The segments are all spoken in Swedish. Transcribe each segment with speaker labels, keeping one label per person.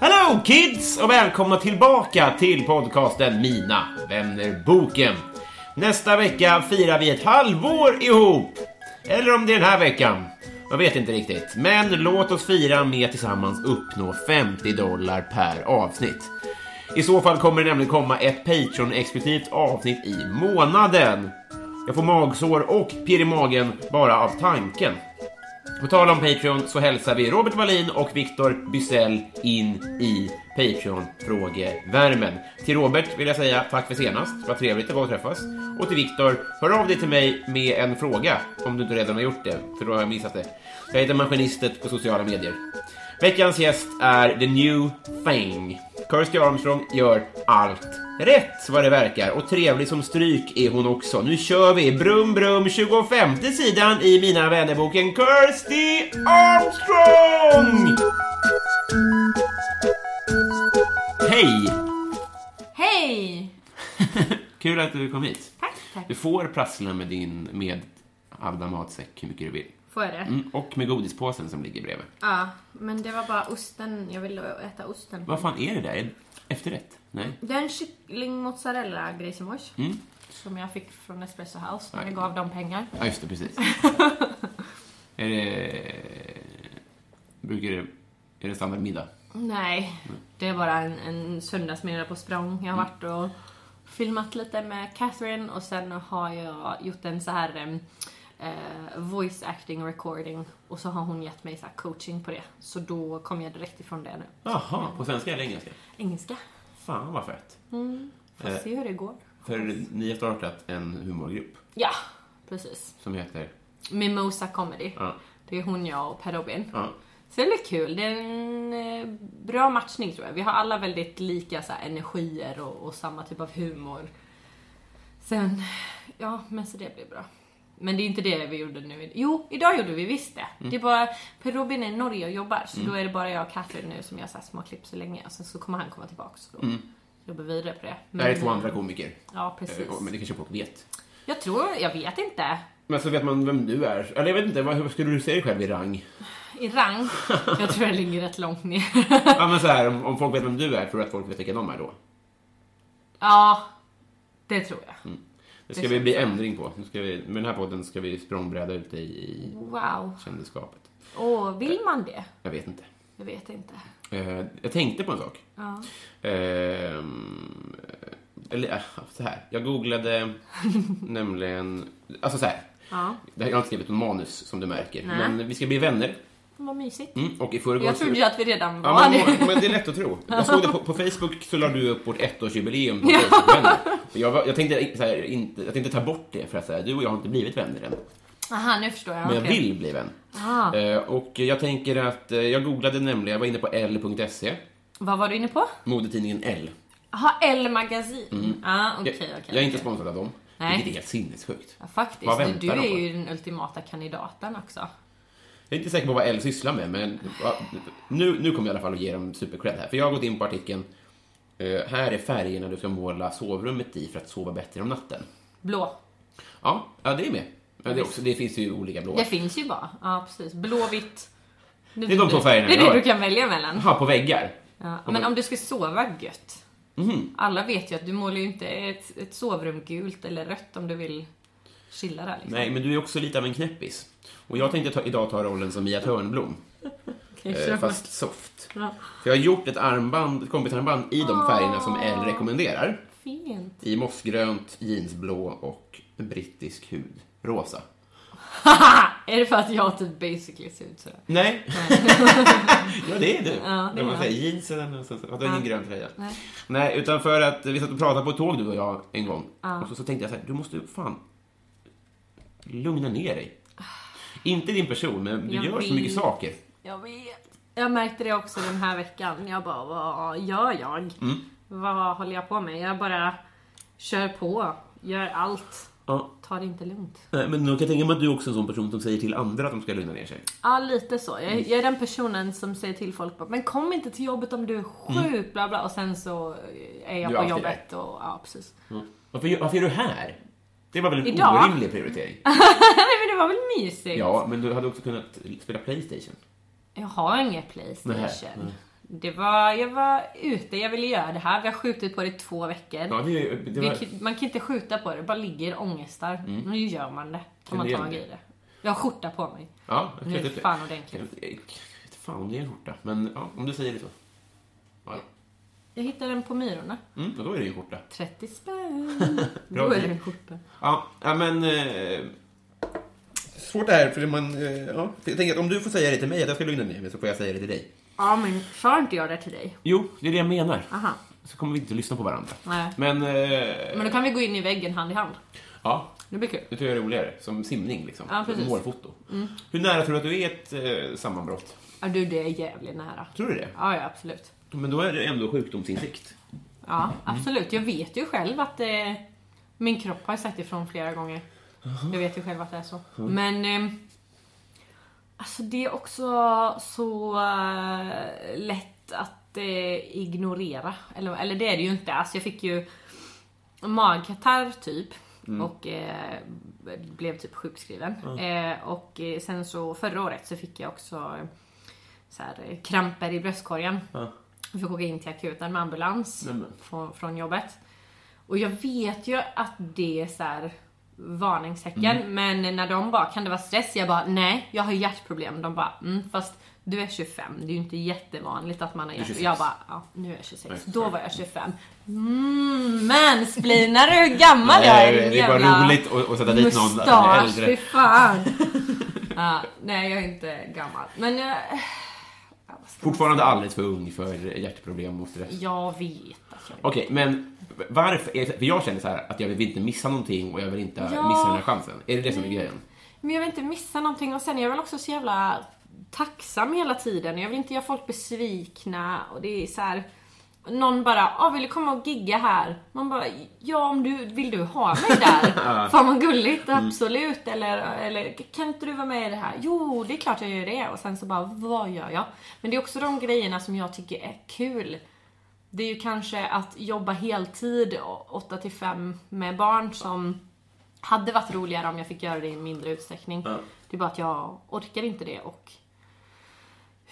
Speaker 1: Hello kids och välkomna tillbaka till podcasten Mina vännerboken. Nästa vecka firar vi ett halvår ihop. Eller om det är den här veckan. Jag vet inte riktigt. Men låt oss fira med att tillsammans uppnå 50 dollar per avsnitt. I så fall kommer det nämligen komma ett Patreon-exklusivt avsnitt i månaden. Jag får magsår och pirr i magen bara av tanken. På tal om Patreon så hälsar vi Robert Wallin och Viktor Bysell in i Patreon-frågevärmen. Till Robert vill jag säga tack för senast, vad trevligt det var att träffas. Och till Viktor, hör av dig till mig med en fråga om du inte redan har gjort det, för då har jag missat det. Jag heter Maskinistet på sociala medier. Veckans gäst är The New Thing. Kirsty Armstrong gör allt rätt vad det verkar och trevlig som stryk är hon också. Nu kör vi! Brum brum 25 sidan i Mina vännerboken Kirsty Armstrong! Hej!
Speaker 2: Hej!
Speaker 1: Kul att du kom hit.
Speaker 2: Tack, tack.
Speaker 1: Du får prassla med din med Avda matsäck hur mycket du vill.
Speaker 2: Får jag det?
Speaker 1: Mm, och med godispåsen som ligger bredvid.
Speaker 2: Ja, men det var bara osten. Jag ville äta osten.
Speaker 1: Vad fan är det där? Efterrätt? Nej.
Speaker 2: Det är en kyckling mozzarella grisimors.
Speaker 1: Mm.
Speaker 2: Som jag fick från Espresso House när jag gav dem pengar.
Speaker 1: Ja, just det, precis. är det... Brukar det... Är det standardmiddag?
Speaker 2: Nej, det är bara en, en söndagsmiddag på språng. Jag har
Speaker 1: Mm.
Speaker 2: varit och filmat lite med Catherine och sen har jag gjort en så här em, eh, voice acting recording och så har hon gett mig så här coaching på det. Så då kom jag direkt ifrån det nu.
Speaker 1: Jaha, på svenska eller engelska?
Speaker 2: Engelska.
Speaker 1: Fan vad fett.
Speaker 2: Mm. Får
Speaker 1: Eh.
Speaker 2: se hur det går.
Speaker 1: För ni har startat en humorgrupp
Speaker 2: Ja, precis.
Speaker 1: som heter...
Speaker 2: Mimosa Comedy.
Speaker 1: Ja.
Speaker 2: Det är hon, jag och Per Robin.
Speaker 1: Ja.
Speaker 2: Så det är väl kul. Det är en eh, bra matchning tror jag. Vi har alla väldigt lika så här, energier och, och samma typ av humor. Sen, ja men så det blir bra. Men det är inte det vi gjorde nu. Jo, idag gjorde vi visst det.
Speaker 1: Mm.
Speaker 2: Det är bara, Per Robin är i Norge och jobbar så då är det bara jag och Catherine nu som gör så här små klipp så länge. Och sen så kommer han komma tillbaka så då jobbar vi vidare på det.
Speaker 1: Mm. Det här är två andra komiker.
Speaker 2: Ja, precis.
Speaker 1: Eh, Men det kanske folk vet.
Speaker 2: Jag tror, jag vet inte.
Speaker 1: Men så vet man vem du är. Eller jag vet inte, vad, hur skulle du se dig själv i rang?
Speaker 2: I rang. Jag tror jag ligger rätt långt ner.
Speaker 1: Ja, men så här, om, om folk vet vem du är, tror du att folk vet vilka de är då?
Speaker 2: Ja, det tror jag.
Speaker 1: Mm. Det ska vi bli ändring på. Nu ska vi, med den här podden ska vi språngbräda ut dig i
Speaker 2: Wow.
Speaker 1: kändisskapet.
Speaker 2: Åh, vill man det?
Speaker 1: Jag vet inte.
Speaker 2: Jag vet inte.
Speaker 1: Eh, jag tänkte på en sak.
Speaker 2: Ja.
Speaker 1: Ehm, eller eh, så här. Jag googlade nämligen... Alltså så här.
Speaker 2: Ja.
Speaker 1: Det här, jag har inte skrivit något manus som du märker.
Speaker 2: Nej.
Speaker 1: Men vi ska bli vänner.
Speaker 2: Vad mysigt.
Speaker 1: Mm, och i förrgår...
Speaker 2: Jag trodde ju att vi redan var
Speaker 1: Ja, men,
Speaker 2: det.
Speaker 1: men det är lätt att tro. Jag såg det på, på Facebook så la du upp vårt ettårsjubileum på Facebook-vänner. Och Jag, var- jag, tänkte, så här, inte, jag tänkte ta bort det för att så här, du och jag har inte blivit vänner än.
Speaker 2: Aha, nu förstår jag.
Speaker 1: Men jag
Speaker 2: Okej.
Speaker 1: vill bli vän.
Speaker 2: Ah.
Speaker 1: Eh, och jag tänker att, eh, jag googlade nämligen, jag var inne på l.se,
Speaker 2: Vad var du inne på?
Speaker 1: E, modetidningen L.
Speaker 2: Jaha, L-magasin. Ah, okej,
Speaker 1: Mm. Jag,
Speaker 2: okej.
Speaker 1: jag är inte
Speaker 2: okej.
Speaker 1: sponsrad av dem,
Speaker 2: Nej.
Speaker 1: vilket är helt sinnessjukt.
Speaker 2: Ja, faktiskt.
Speaker 1: Vad
Speaker 2: Du,
Speaker 1: väntar
Speaker 2: du
Speaker 1: de
Speaker 2: är
Speaker 1: på?
Speaker 2: ju den ultimata kandidaten också.
Speaker 1: Jag är inte säker på vad L sysslar med, men ja, nu, nu kommer jag i alla fall att ge dem supercred här. För jag har gått in på artikeln, eh, här är färgerna du ska måla sovrummet i för att sova bättre om natten.
Speaker 2: Blå.
Speaker 1: Ja, ja det är med. Ja, det, är också, det finns ju olika blåa.
Speaker 2: Det finns ju bara. Ja, precis. Blå, vitt.
Speaker 1: Det är de två färgerna
Speaker 2: Det
Speaker 1: vi
Speaker 2: är
Speaker 1: har.
Speaker 2: det du kan välja mellan.
Speaker 1: Jaha, på väggar.
Speaker 2: Ja, men om du ska sova gött.
Speaker 1: Mhm.
Speaker 2: Alla vet ju att du målar ju inte ett, ett sovrum gult eller rött om du vill chilla där liksom.
Speaker 1: Nej, men du är också lite av en knäppis. Och jag tänkte ta, idag ta rollen som Mia Törnblom,
Speaker 2: Okej,
Speaker 1: eh,
Speaker 2: kör.
Speaker 1: fast soft.
Speaker 2: Ja.
Speaker 1: För jag har gjort ett armband, ett kompisarmband i
Speaker 2: Ah.
Speaker 1: de färgerna som L rekommenderar.
Speaker 2: Fint.
Speaker 1: I mossgrönt, jeansblå och brittisk hud. Rosa.
Speaker 2: Haha! är det för att jag typ basically ser ut sådär?
Speaker 1: Nej. ja, det är du.
Speaker 2: det
Speaker 1: När
Speaker 2: är
Speaker 1: man
Speaker 2: jag.
Speaker 1: säger jeansen och så, så, att du har ingen grön tröja.
Speaker 2: Nej.
Speaker 1: Nej, utan för att vi satt och pratade på ett tåg du och jag en gång. Och så, så tänkte jag så här, du måste ju fan lugna ner dig. Inte din person, men du
Speaker 2: Jag
Speaker 1: gör så
Speaker 2: vill.
Speaker 1: mycket saker.
Speaker 2: Jag vet. Jag märkte det också den här veckan. Jag bara, vad gör jag?
Speaker 1: Mm.
Speaker 2: Vad håller jag på med? Jag bara kör på, gör allt.
Speaker 1: Ja,
Speaker 2: Tar det inte lugnt.
Speaker 1: nej, men jag kan tänka mig att du är också en sån person som säger till andra att de ska lugna ner sig.
Speaker 2: Ja, lite så. Jag, jag är den personen som säger till folk bara, men kom inte till jobbet om du är sjuk, bla bla. Och sen så är
Speaker 1: Mm. Du är
Speaker 2: jag på
Speaker 1: alltid
Speaker 2: jobbet och ja, precis.
Speaker 1: Varför, gör- varför är du här? Det var väl en
Speaker 2: Idag?
Speaker 1: orimlig prioritering?
Speaker 2: Nej men det var väl mysigt?
Speaker 1: Ja, men du hade också kunnat spela Playstation.
Speaker 2: Jag har inget Playstation.
Speaker 1: Nej, nej.
Speaker 2: Det var, jag var ute, jag ville göra det här. Vi har skjutit på det i två veckor.
Speaker 1: Ja, det, är- det
Speaker 2: Vi
Speaker 1: var... Mm.
Speaker 2: kan- man kan inte skjuta på det, det bara ligger ångestar. Nu gör man det. Om man
Speaker 1: det
Speaker 2: tar
Speaker 1: gör
Speaker 2: i
Speaker 1: det.
Speaker 2: det. Jag har skjorta på mig.
Speaker 1: Ja, jag
Speaker 2: Nu är
Speaker 1: vet
Speaker 2: det
Speaker 1: inte.
Speaker 2: fan
Speaker 1: Jag
Speaker 2: ordentligt.
Speaker 1: vet- jag vet fan om det är en skjorta, men ja, om du säger det så. Ja,
Speaker 2: Jag hittade den på Myrorna.
Speaker 1: mm, och då är det ju en skjorta.
Speaker 2: 30 spänn. Då är det en skjorta.
Speaker 1: Ja, ja men... Eh, svårt det här, för man... Eh, ja, jag tänker att om du får säga det till mig, att jag ska lugna ner mig, så får jag säga det till dig.
Speaker 2: Ja men sa inte jag det till dig?
Speaker 1: Jo, det är det jag menar.
Speaker 2: Aha.
Speaker 1: Så kommer vi inte att lyssna på varandra.
Speaker 2: Nej.
Speaker 1: Men... Eh,
Speaker 2: Men då kan vi gå in i väggen hand i hand.
Speaker 1: ja,
Speaker 2: Det blir kul.
Speaker 1: det tror jag är roligare. Som simning, liksom.
Speaker 2: Ja, precis. Mm.
Speaker 1: Målfoto. Hur nära tror du att du är ett eh, sammanbrott?
Speaker 2: Ja du, det är jävligt nära.
Speaker 1: Tror du det?
Speaker 2: Ja, ja absolut.
Speaker 1: Men då är det ändå sjukdomsinsikt.
Speaker 2: Ja, absolut. Jag vet ju själv att eh, min kropp har sagt ifrån flera gånger. Jag vet ju själv att det är så. Men eh, alltså det är också så eh, lätt att eh, ignorera. Eller, eller det är det ju inte. Alltså jag fick ju magkatarr typ.
Speaker 1: Mm.
Speaker 2: Och eh, blev typ sjukskriven. Eh, och eh, sen så förra året så fick jag också eh, så här, eh, kramper i bröstkorgen. Jag fick åka in till akuten med ambulans
Speaker 1: Nämen.
Speaker 2: från, från jobbet. Och jag vet ju att det är så här varningstecken.
Speaker 1: Mm.
Speaker 2: Men när de bara, kan det vara stress? Jag bara, nej, jag har hjärtproblem. De bara, mm, fast du är 25. Det är ju inte jättevanligt att man har hjärtproblem.
Speaker 1: 26.
Speaker 2: Jag bara, ja, nu är jag 26.
Speaker 1: Nej,
Speaker 2: Då var jag 25. Mm, mansplainar du hur gammal jag är?
Speaker 1: Nej,
Speaker 2: din
Speaker 1: det är bara
Speaker 2: jävla
Speaker 1: roligt att- att sätta dit någon som är
Speaker 2: mustasch,
Speaker 1: äldre.
Speaker 2: fy fan. ja, nej, jag är inte gammal. Men eh, jag, ja, vad ska man
Speaker 1: Fortfarande
Speaker 2: säga?
Speaker 1: alldeles för ung för hjärtproblem och stress.
Speaker 2: Jag vet att jag är
Speaker 1: Okej, men varför? är- För jag känner så här att jag vill inte missa någonting och jag vill inte
Speaker 2: Ja.
Speaker 1: missa den här chansen. Är det det som är grejen?
Speaker 2: Men jag vill inte missa någonting och sen är jag väl också så jävla tacksam hela tiden. Jag vill inte göra folk besvikna och det är så här. Någon bara, ah, vill du komma och gigga här? Man bara, ja om du, vill du ha mig där? Fan vad gulligt, absolut. Eller, eller kan inte du vara med i det här? Jo, det är klart jag gör det. Och sen så bara, vad gör jag? Men det är också de grejerna som jag tycker är kul. Det är ju kanske att jobba heltid 8 till 5 med barn som hade varit roligare om jag fick göra det i mindre utsträckning. Det är bara att jag orkar inte det och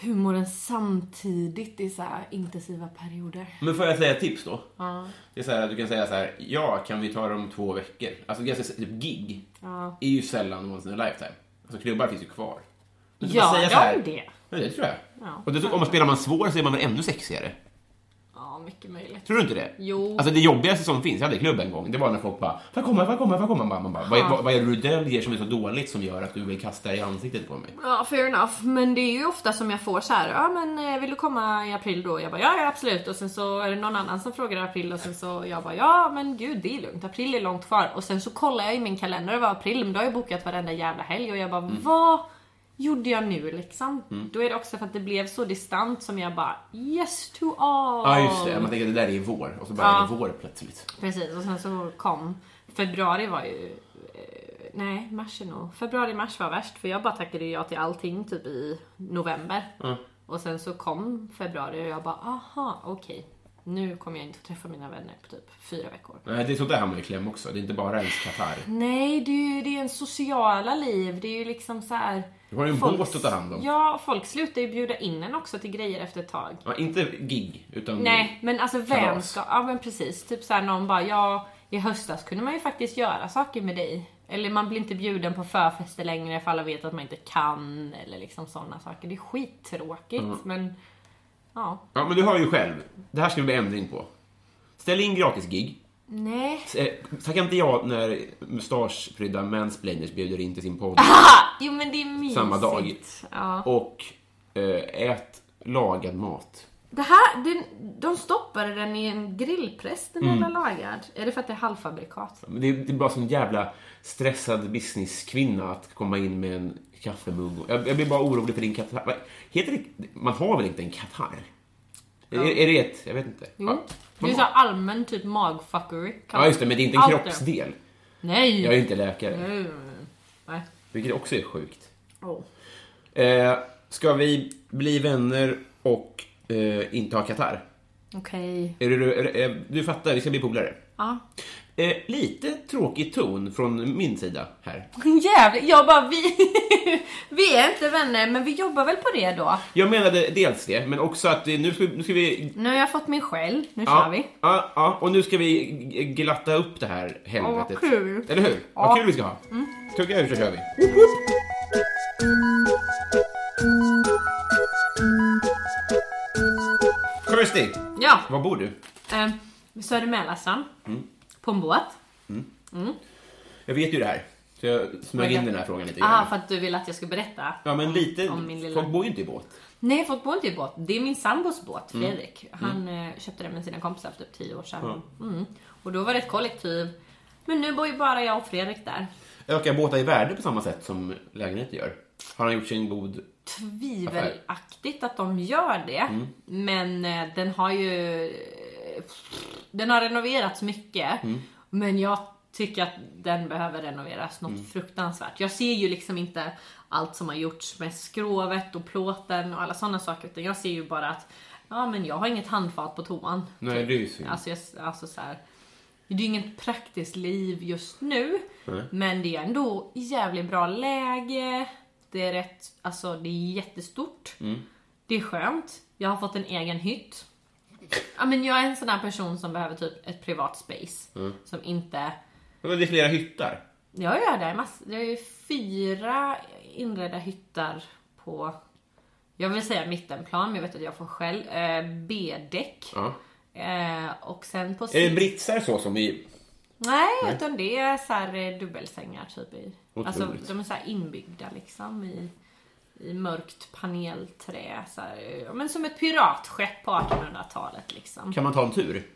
Speaker 2: humoren samtidigt i så här intensiva perioder.
Speaker 1: Men får jag säga ett tips då? Det är så här att du kan säga så här, ja, kan vi ta det om två veckor? Alltså ganska typ gig är ju sällan once in a lifetime. Alltså klubbar finns ju kvar. Men du får
Speaker 2: Ja,
Speaker 1: säga
Speaker 2: de
Speaker 1: så här-
Speaker 2: det.
Speaker 1: Ja, det tror jag.
Speaker 2: Ja.
Speaker 1: och dessutom, om man spelar man svår så är man väl ännu sexigare?
Speaker 2: Ja, mycket möjligt.
Speaker 1: Tror du inte det?
Speaker 2: Jo.
Speaker 1: Alltså det jobbigaste som finns, jag hade klubb en gång, det var när folk bara Får jag komma, får jag komma, får jag komma? Man bara, vad, vad, vad är det du döljer som är så dåligt som gör att du vill kasta det i ansiktet på mig?
Speaker 2: Ja, fair enough. Men det är ju ofta som jag får så här, ja men eh, vill du komma i april då? Jag bara, ja, ja absolut. Och sen så är det någon annan som frågar i april och sen så jag bara, ja men gud det är lugnt, april är långt kvar. Och sen så kollar jag i min kalender och det var april, men då har jag bokat varenda jävla helg och jag
Speaker 1: Mm.
Speaker 2: bara, vad gjorde jag nu liksom? Då är det också för att det blev så distant som jag bara, yes to all.
Speaker 1: Ja, just det. Man tänker att det där är ju vår och så bara
Speaker 2: Ja.
Speaker 1: är det vår plötsligt.
Speaker 2: Precis, och sen så kom februari var ju... eh, Nej, mars är nog... Februari-mars var värst för jag bara tackade ja till allting typ i november.
Speaker 1: Mm.
Speaker 2: Och sen så kom februari och jag bara aha, okej. Nu kommer jag inte få träffa mina vänner på typ fyra veckor.
Speaker 1: Nej, det är sånt där hamnar i kläm också. Det är inte bara ens katarr.
Speaker 2: Nej, det är ju det är en sociala liv. Det är ju liksom så här.
Speaker 1: Du har ju en
Speaker 2: folk-
Speaker 1: båt att ta hand om.
Speaker 2: Ja, folk slutar ju bjuda in en också till grejer efter ett tag.
Speaker 1: Ja, inte gig, utan...
Speaker 2: Nej, men alltså vem
Speaker 1: Mm. Kalas.
Speaker 2: ska... Ja men precis. Typ såhär någon bara, ja i höstas kunde man ju faktiskt göra saker med dig. Eller man blir inte bjuden på förfester längre för alla vet att man inte kan. Eller liksom sådana saker. Det är skittråkigt
Speaker 1: Mm.
Speaker 2: men ja.
Speaker 1: Ja, men du hör ju själv. Det här ska det bli ändring på. Ställ in gratisgig.
Speaker 2: Nej.
Speaker 1: Eh, Tacka inte ja när mustaschprydda mansplainers bjuder in till sin podd.
Speaker 2: Jo men det är mysigt.
Speaker 1: Samma dag.
Speaker 2: Ja.
Speaker 1: Och eh, ät lagad mat.
Speaker 2: Det här, den, de stoppade den i en grillpress, den
Speaker 1: Mm.
Speaker 2: jävla lagad. Är det för att det är halvfabrikat?
Speaker 1: Men Det är, det är bara som en jävla stressad businesskvinna att komma in med en kaffemugg. Jag, jag blir bara orolig för din katarr. Vad- Heter det, man har väl inte en katarr? Är, är det ett? Jag vet inte. Ja,
Speaker 2: Det är så här allmän typ magfuckery. kan
Speaker 1: ja,
Speaker 2: man-
Speaker 1: just det, men det är inte en
Speaker 2: Allt det.
Speaker 1: kroppsdel.
Speaker 2: Nej!
Speaker 1: Jag är inte läkare,
Speaker 2: Mm. Nej.
Speaker 1: vilket också är sjukt.
Speaker 2: Oh.
Speaker 1: Eh, ska vi bli vänner och eh, inte ha katarr?
Speaker 2: Okej.
Speaker 1: Är du, är, är, du fattar, vi ska bli polare.
Speaker 2: Ja.
Speaker 1: Eh, lite tråkig ton från min sida här.
Speaker 2: Jävlar, jag bara vi... vi är inte vänner men vi jobbar väl på det då.
Speaker 1: Jag menade dels det, men också att eh, nu ska, vi- nu ska vi...
Speaker 2: Nu har jag fått min skäll, nu
Speaker 1: Ja,
Speaker 2: kör vi.
Speaker 1: Ja, ja, och nu ska vi g- glatta upp det här helvetet.
Speaker 2: Åh, vad kul. Mm.
Speaker 1: Eller hur? Vad kul vi ska ha. Tugga ur så kör vi. Kirsty,
Speaker 2: Ja.
Speaker 1: var bor du?
Speaker 2: Eh, Södermälarstrand. På en båt.
Speaker 1: Jag vet ju det här, så jag smög
Speaker 2: Men-
Speaker 1: in den här frågan lite
Speaker 2: Aha,
Speaker 1: grann.
Speaker 2: för att du vill att jag ska berätta.
Speaker 1: Ja, men lite...
Speaker 2: Ah. Om min lilla-
Speaker 1: Folk bor ju inte i båt.
Speaker 2: Nej, folk bor inte i båt. Det är min sambos båt, Fredrik. Han eh, köpte den med sina kompisar för typ 10 år sedan. Mm. Och då var det ett kollektiv. Men nu bor ju bara jag och Fredrik där.
Speaker 1: Ökar båtar i värde på samma sätt som lägenheter gör? Har han gjort sin god...
Speaker 2: tvivelaktigt att de gör det. Men eh, den har ju... eh, Den har renoverats mycket. Men jag tycker att den behöver renoveras något fruktansvärt. Jag ser ju liksom inte allt som har gjorts med skrovet och plåten och alla sådana saker. Utan jag ser ju bara att ja, men jag har inget handfat på toan.
Speaker 1: Nej, det är ju synd.
Speaker 2: Alltså, jag, alltså så här, det är ju inget praktiskt liv just nu, men det är ändå jävligt bra läge. Det är rätt, alltså det är jättestort.
Speaker 1: Mm.
Speaker 2: Det är skönt. Jag har fått en egen hytt. Ja, men jag är en sån här person som behöver typ ett privat space.
Speaker 1: Mm.
Speaker 2: Som inte...
Speaker 1: Men Det är flera hyttar.
Speaker 2: Ja, ja, det är massor. Det är ju fyra inredda hyttar på... Jag vill säga mittenplan, men jag vet att jag får själv. Eh, B-däck.
Speaker 1: Ja.
Speaker 2: Eh, och sen på...
Speaker 1: Är det
Speaker 2: si-
Speaker 1: britsar så som vi...
Speaker 2: Nej, utan det är så här eh, dubbelsängar typ. I. Alltså
Speaker 1: Otroligt.
Speaker 2: de är så här inbyggda liksom i, i mörkt panelträ. Så här, eh, ja, men som ett piratskepp på 1800-talet liksom.
Speaker 1: Kan man ta en tur?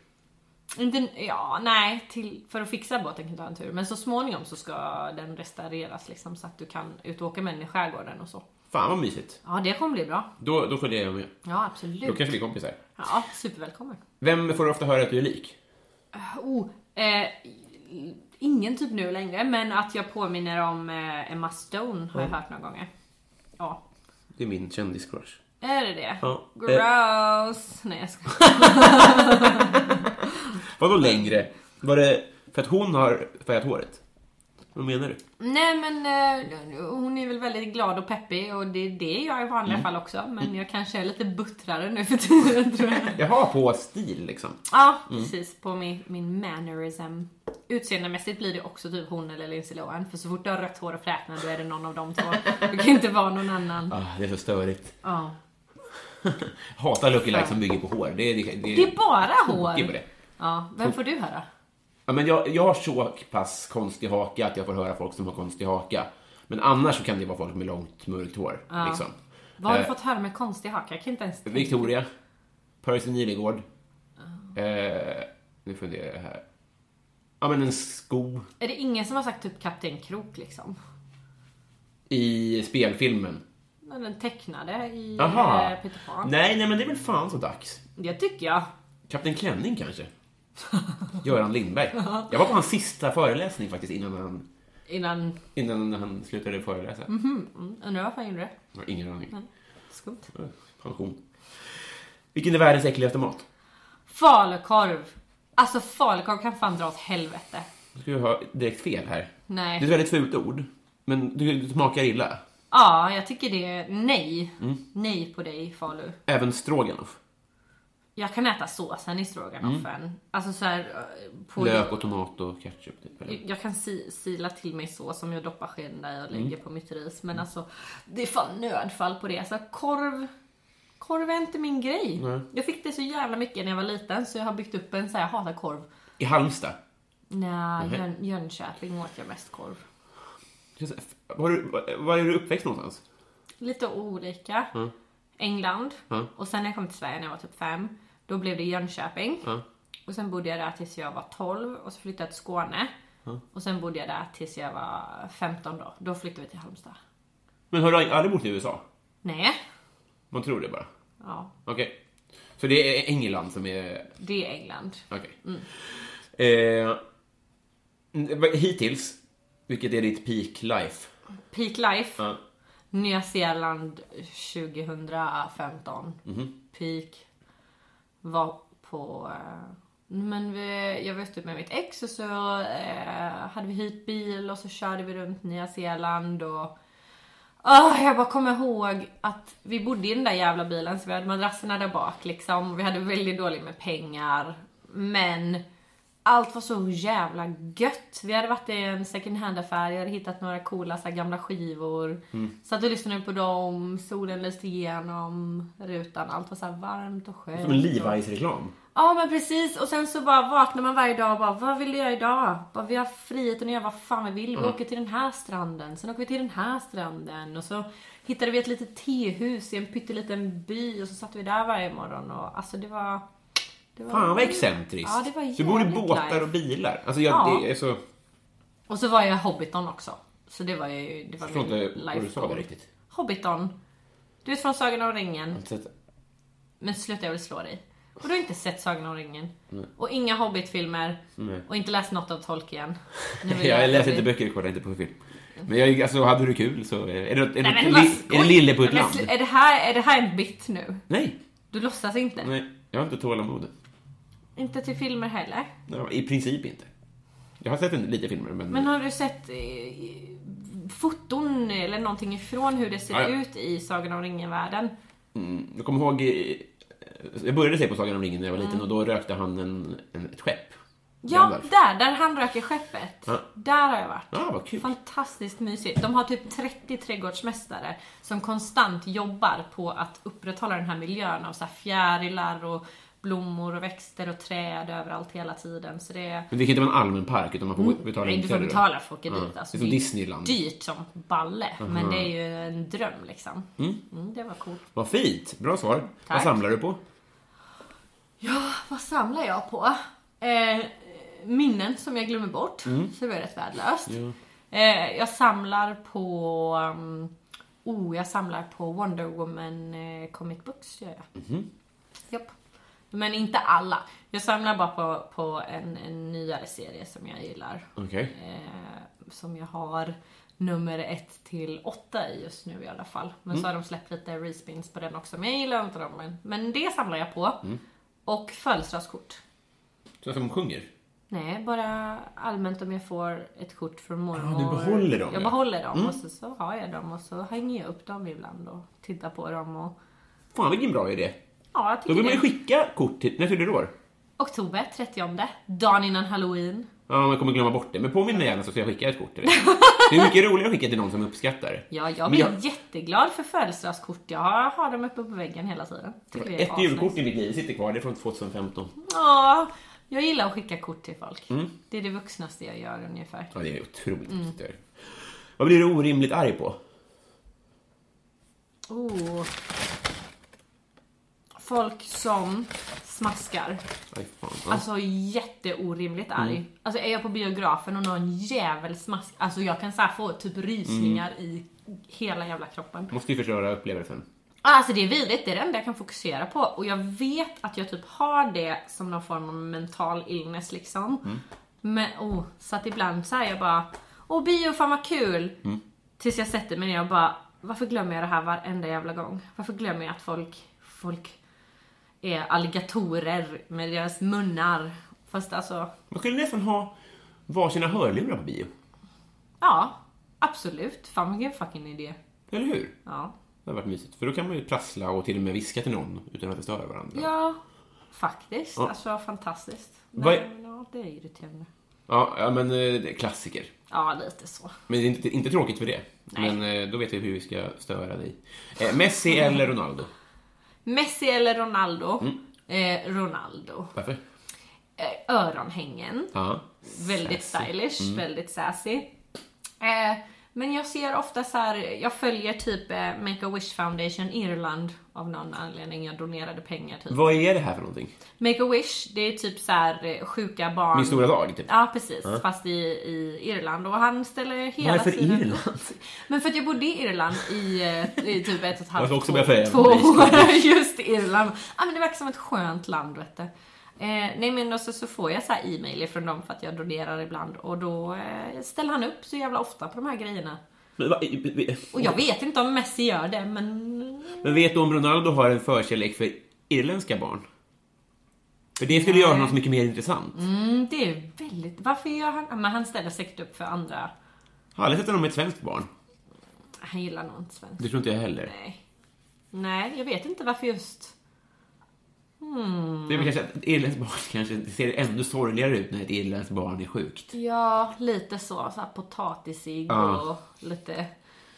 Speaker 2: Inte, ja, nej, till, för att fixa båten kan du ta en tur. Men så småningom så ska den restaureras liksom så att du kan ut och åka med den i skärgården och så.
Speaker 1: Fan vad mysigt.
Speaker 2: Ja, det kommer bli bra.
Speaker 1: Då, då följer jag med.
Speaker 2: Ja,
Speaker 1: Då
Speaker 2: absolut.
Speaker 1: kanske vi är kompisar.
Speaker 2: Ja, supervälkommen.
Speaker 1: Vem får du ofta höra att du är lik?
Speaker 2: Oh, eh, ingen typ nu längre, men att jag påminner om eh, Emma Stone har jag hört några gånger. Ja.
Speaker 1: Det är min kändiscrush.
Speaker 2: Är det det?
Speaker 1: Ja.
Speaker 2: Gross! Nej jag skojar.
Speaker 1: Vadå längre? Var det för att hon har färgat håret? Vad menar du?
Speaker 2: Nej men eh, hon är väl väldigt glad och peppig och det är det jag är i vanliga fall också. Men jag kanske är lite buttrare nu för tiden tror jag.
Speaker 1: Jag har på stil liksom.
Speaker 2: Ja precis, på min, min mannerism. Utseendemässigt blir det också typ hon eller Lindsay Lohan. För så fort du har rött hår och fräknar då är det någon av de två. Det kan inte vara någon annan.
Speaker 1: Ah, det är så störigt.
Speaker 2: Ja.
Speaker 1: Hatar Lucky Like som bygger på hår. Det, det, det,
Speaker 2: Det är bara
Speaker 1: tokigt på
Speaker 2: hår.
Speaker 1: det.
Speaker 2: Ja, vem får du höra?
Speaker 1: Ja, men jag, jag har så pass konstig haka att jag får höra folk som har konstig haka. Men annars så kan det vara folk med långt mörkt hår. Liksom.
Speaker 2: Vad har du
Speaker 1: Eh.
Speaker 2: fått höra med konstig haka? Jag kan inte ens tänka.
Speaker 1: Victoria. Percy Nilegård.
Speaker 2: Ah.
Speaker 1: Eh, nu funderar jag här. Ja, men en sko
Speaker 2: Är det ingen som har sagt typ Kapten Krok liksom?
Speaker 1: i spelfilmen.
Speaker 2: Men Den tecknade i
Speaker 1: Jaha.
Speaker 2: eh, Peter Pan.
Speaker 1: Nej, nej, men det är väl fan så dags.
Speaker 2: Det tycker jag.
Speaker 1: Kapten Klänning kanske? Göran Lindberg. Jag var på hans sista föreläsning faktiskt innan han,
Speaker 2: Innan,
Speaker 1: innan han slutade föreläsa.
Speaker 2: Mhm. undrar varför han gjorde det?
Speaker 1: Jag har ingen aning. Eh,
Speaker 2: Skumt.
Speaker 1: Pension. Vilken är världens äckligaste mat?
Speaker 2: Falukorv. Alltså falukorv kan fan dra åt helvete.
Speaker 1: Nu ska jag ha direkt fel här. Det är ett
Speaker 2: Nej.
Speaker 1: väldigt fult ord, men du, du smakar illa. Mm.
Speaker 2: Ja, jag tycker det är nej. Nej på dig Falu.
Speaker 1: Även stroganoff.
Speaker 2: Jag kan äta såsen i stroganoffen.
Speaker 1: Mm.
Speaker 2: Alltså så här, eh, på
Speaker 1: Lök och tomat och ketchup typ. Eller?
Speaker 2: Jag kan si, sila till mig sås som jag doppar skeden i och lägger på mitt ris. Men alltså, det är fan nödfall på det. Så korv, korv är inte min grej. Jag fick det så jävla mycket när jag var liten så jag har byggt upp en så här, jag hatar korv.
Speaker 1: I Halmstad.
Speaker 2: Nej, Jön, Jönköping åt jag mest korv.
Speaker 1: Var, du, var, var är du uppväxt någonstans?
Speaker 2: Lite olika. England.
Speaker 1: Mm.
Speaker 2: Och sen när jag kom till Sverige när jag var typ fem, då blev det Jönköping.
Speaker 1: Ja.
Speaker 2: Och sen bodde jag där tills jag var 12 och så flyttade jag till Skåne. Och sen bodde jag där tills jag var 15 då. Då flyttade vi till Halmstad.
Speaker 1: Men har du aldrig bott i USA?
Speaker 2: Nej.
Speaker 1: Man tror det bara.
Speaker 2: Ja,
Speaker 1: Okej. Så det är England som är...
Speaker 2: det är England.
Speaker 1: Okej. Eh, vad- hittills, vilket är ditt peak life?
Speaker 2: Peak life.
Speaker 1: Ja.
Speaker 2: Nya Zeeland 2015. Peak var på... eh, Men vi, jag var ute med mitt ex och så eh, hade vi hyrt bil och så körde vi runt Nya Zeeland och... Ah, jag bara kommer ihåg att vi bodde i den där jävla bilen så vi hade madrasserna där bak liksom. Vi hade väldigt dåligt med pengar. Men allt var så jävla gött. Vi hade varit i en second hand-affär, jag hade hittat några coola så här, gamla skivor.
Speaker 1: Mm.
Speaker 2: Satt och lyssnade på dem, solen lyste igenom rutan, allt var så här varmt och skönt.
Speaker 1: Som en
Speaker 2: och-
Speaker 1: Levi's-reklam.
Speaker 2: Ja men precis och sen så bara vaknar man varje dag och bara vad vill jag göra idag? Bara, vi har friheten att göra vad fan vi vill.
Speaker 1: Mm.
Speaker 2: Vi åker till den här stranden, sen åker vi till den här stranden och så hittade vi ett litet tehus i en pytteliten by och så satt vi där varje morgon och alltså det var... Det var
Speaker 1: Fan vad excentriskt.
Speaker 2: Ja, det var
Speaker 1: du bor i
Speaker 2: jävligt
Speaker 1: båtar
Speaker 2: life.
Speaker 1: och bilar. Alltså jag
Speaker 2: Ja.
Speaker 1: det är så...
Speaker 2: Och så var jag Hobbiton också. Så det var ju... Det var
Speaker 1: Jag förstår
Speaker 2: min
Speaker 1: inte vad du
Speaker 2: life
Speaker 1: sa där
Speaker 2: goal.
Speaker 1: riktigt.
Speaker 2: Hobbiton. Du vet från Sagan om ringen.
Speaker 1: Så att-
Speaker 2: Men sluta jag vill slå dig. Och du har inte sett Sagan om ringen. Och inga Hobbit-filmer. Och inte läst något av Tolkien. Nu vill
Speaker 1: Jag läser inte
Speaker 2: böcker.
Speaker 1: böcker, kollar inte på film. Men jag, alltså, hade du kul så... Är det, är det,
Speaker 2: Nej, men
Speaker 1: li,
Speaker 2: vad
Speaker 1: är
Speaker 2: skoj.
Speaker 1: det lille på ett
Speaker 2: Men
Speaker 1: land?
Speaker 2: sl- Är det, här, är det här en bit nu?
Speaker 1: Nej,
Speaker 2: Du låtsas inte?
Speaker 1: nej. Jag har inte tålamod.
Speaker 2: Inte till filmer heller.
Speaker 1: Ja, I princip inte. Jag har sett en, lite filmer, men...
Speaker 2: Men har du sett eh, foton eller någonting ifrån hur det ser
Speaker 1: Ja, ja.
Speaker 2: ut i Sagan om ringen-världen?
Speaker 1: Mm, jag kommer ihåg... eh, Jag började se på Sagan om ringen när jag var liten och då rökte han en, en, ett skepp.
Speaker 2: Ja,
Speaker 1: Gandalf.
Speaker 2: där, där han röker skeppet.
Speaker 1: Ja.
Speaker 2: Där har jag varit.
Speaker 1: Ja, vad kul.
Speaker 2: Fantastiskt mysigt. De har typ 30 trädgårdsmästare som konstant jobbar på att upprätthålla den här miljön av så här fjärilar och blommor och växter och träd överallt hela tiden. Så det är...
Speaker 1: Men det kan inte vara en allmän park, utan man får betala
Speaker 2: Mm. Nej, du får
Speaker 1: inträde.
Speaker 2: betala för att åka
Speaker 1: Ja,
Speaker 2: dit. Alltså,
Speaker 1: det är som Disneyland.
Speaker 2: dyrt som balle, men det är ju en dröm liksom. Mm, det var coolt.
Speaker 1: Vad fint! Bra svar. Vad
Speaker 2: Tack.
Speaker 1: samlar du på?
Speaker 2: Vad samlar jag på? Eh, minnen som jag glömmer bort, så det var rätt värdelöst. Eh, jag samlar på... Um, oh, jag samlar på Wonder Woman eh, comic books, gör jag. Japp. Men inte alla. Jag samlar bara på, på en, en nyare serie som jag gillar.
Speaker 1: Okej.
Speaker 2: Eh, som jag har nummer 1 till 8 i just nu i alla fall. Men så har de släppt lite respins på den också, men jag gillar inte dem. Men, men det samlar jag på. Och födelsedagskort.
Speaker 1: Så som sjunger?
Speaker 2: Nej, bara allmänt om jag får ett kort från mormor.
Speaker 1: Ja, du behåller dem,
Speaker 2: Jag
Speaker 1: ja. Mm.
Speaker 2: behåller dem och så, så har jag dem och så hänger jag upp dem ibland och tittar på dem och...
Speaker 1: Fan, vilken bra idé.
Speaker 2: Ja, jag
Speaker 1: Då
Speaker 2: tycker
Speaker 1: vill man ju
Speaker 2: det.
Speaker 1: skicka kort till... När fyller du år?
Speaker 2: Oktober 30, dagen innan halloween.
Speaker 1: Ja, man kommer glömma bort det. Men påminn mig gärna så ska jag skicka ett kort till dig. Det är mycket roligare att skicka till någon som uppskattar det.
Speaker 2: Ja, jag
Speaker 1: Men
Speaker 2: blir jätteglad för födelsedagskort. Jag har, har dem uppe på väggen hela tiden. Tycker det är
Speaker 1: Ett
Speaker 2: asnice.
Speaker 1: julkort i mitt liv sitter kvar, det är från 2015.
Speaker 2: Ja, jag gillar att skicka kort till folk.
Speaker 1: Mm.
Speaker 2: Det är det vuxnaste jag gör ungefär.
Speaker 1: Ja, det är otroligt
Speaker 2: Mm.
Speaker 1: viktigt. det är. Vad blir du orimligt arg på?
Speaker 2: Oh. Folk som smaskar.
Speaker 1: Aj, fan. Ja.
Speaker 2: Alltså jätteorimligt arg. Alltså är jag på biografen och någon jävel smask, alltså jag kan så här få typ rysningar i hela jävla kroppen.
Speaker 1: Måste ju förstöra upplevelsen.
Speaker 2: Alltså det är vidrigt, det är det enda jag kan fokusera på. Och jag vet att jag typ har det som någon form av mental illness liksom. Men, oh, så att ibland så här jag bara, åh bio fan vad kul! Tills jag sätter mig ner och bara, varför glömmer jag det här varenda jävla gång? Varför glömmer jag att folk, folk är alligatorer med deras munnar? Fast alltså,
Speaker 1: Man skulle nästan ha varsina hörlurar på bio.
Speaker 2: ja, absolut. Fan vilken fucking idé.
Speaker 1: Eller hur?
Speaker 2: Ja.
Speaker 1: Det hade varit mysigt. För då kan man ju prassla och till och med viska till någon utan att det stör varandra.
Speaker 2: Ja. Faktiskt.
Speaker 1: Ja.
Speaker 2: Alltså fantastiskt.
Speaker 1: Vad
Speaker 2: Nej,
Speaker 1: är-
Speaker 2: men, ja, det är irriterande.
Speaker 1: Ja, ja men eh, det är klassiker.
Speaker 2: Ja, lite så.
Speaker 1: Men det är inte, inte tråkigt för det.
Speaker 2: Nej.
Speaker 1: Men eh, då vet vi hur vi ska störa dig. Eh, Messi eller Ronaldo?
Speaker 2: Messi eller Ronaldo?
Speaker 1: Mm.
Speaker 2: Eh, Ronaldo.
Speaker 1: Varför?
Speaker 2: Eh, öronhängen.
Speaker 1: Ja.
Speaker 2: Väldigt
Speaker 1: Sassy. Mm.
Speaker 2: stylish, väldigt sassy. Eh, men jag ser ofta så här, jag följer typ eh, Make-A-Wish Foundation Irland av någon anledning. Jag donerade pengar typ.
Speaker 1: Vad är det här för någonting?
Speaker 2: Make-A-Wish, det är typ så här eh, sjuka barn.
Speaker 1: Min stora dag, typ?
Speaker 2: Ja precis, fast i, i Irland. Och han ställer hela
Speaker 1: Varför
Speaker 2: tiden
Speaker 1: Irland?
Speaker 2: Men för att jag bodde i Irland i, eh, i typ ett och ett halvt,
Speaker 1: Jag ska också
Speaker 2: två,
Speaker 1: börja säga
Speaker 2: två
Speaker 1: det.
Speaker 2: år. Just Irland. Ja men det verkar som ett skönt land vet du. Eh, nej men och så, så får jag så här e-mail ifrån dem för att jag donerar ibland och då eh, ställer han upp så jävla ofta på de här grejerna.
Speaker 1: Men, va- i- i- i-
Speaker 2: Och jag vet inte om Messi gör det men...
Speaker 1: men vet du om Ronaldo har en förkärlek för irländska barn? För det skulle göra honom så mycket mer intressant.
Speaker 2: Mm, det är väldigt... Varför gör han... Ja, Men han ställer säkert upp för andra.
Speaker 1: Har aldrig sett honom med ett svenskt barn.
Speaker 2: Han gillar nog inte svensk.
Speaker 1: Det tror inte jag heller.
Speaker 2: Nej. Nej, jag vet inte varför just...
Speaker 1: Det är väl kanske att ett irländskt barn kanske det ser ännu sorgligare ut när ett irländskt barn är sjukt.
Speaker 2: Ja, lite så. så här potatisig
Speaker 1: Ja.
Speaker 2: och lite,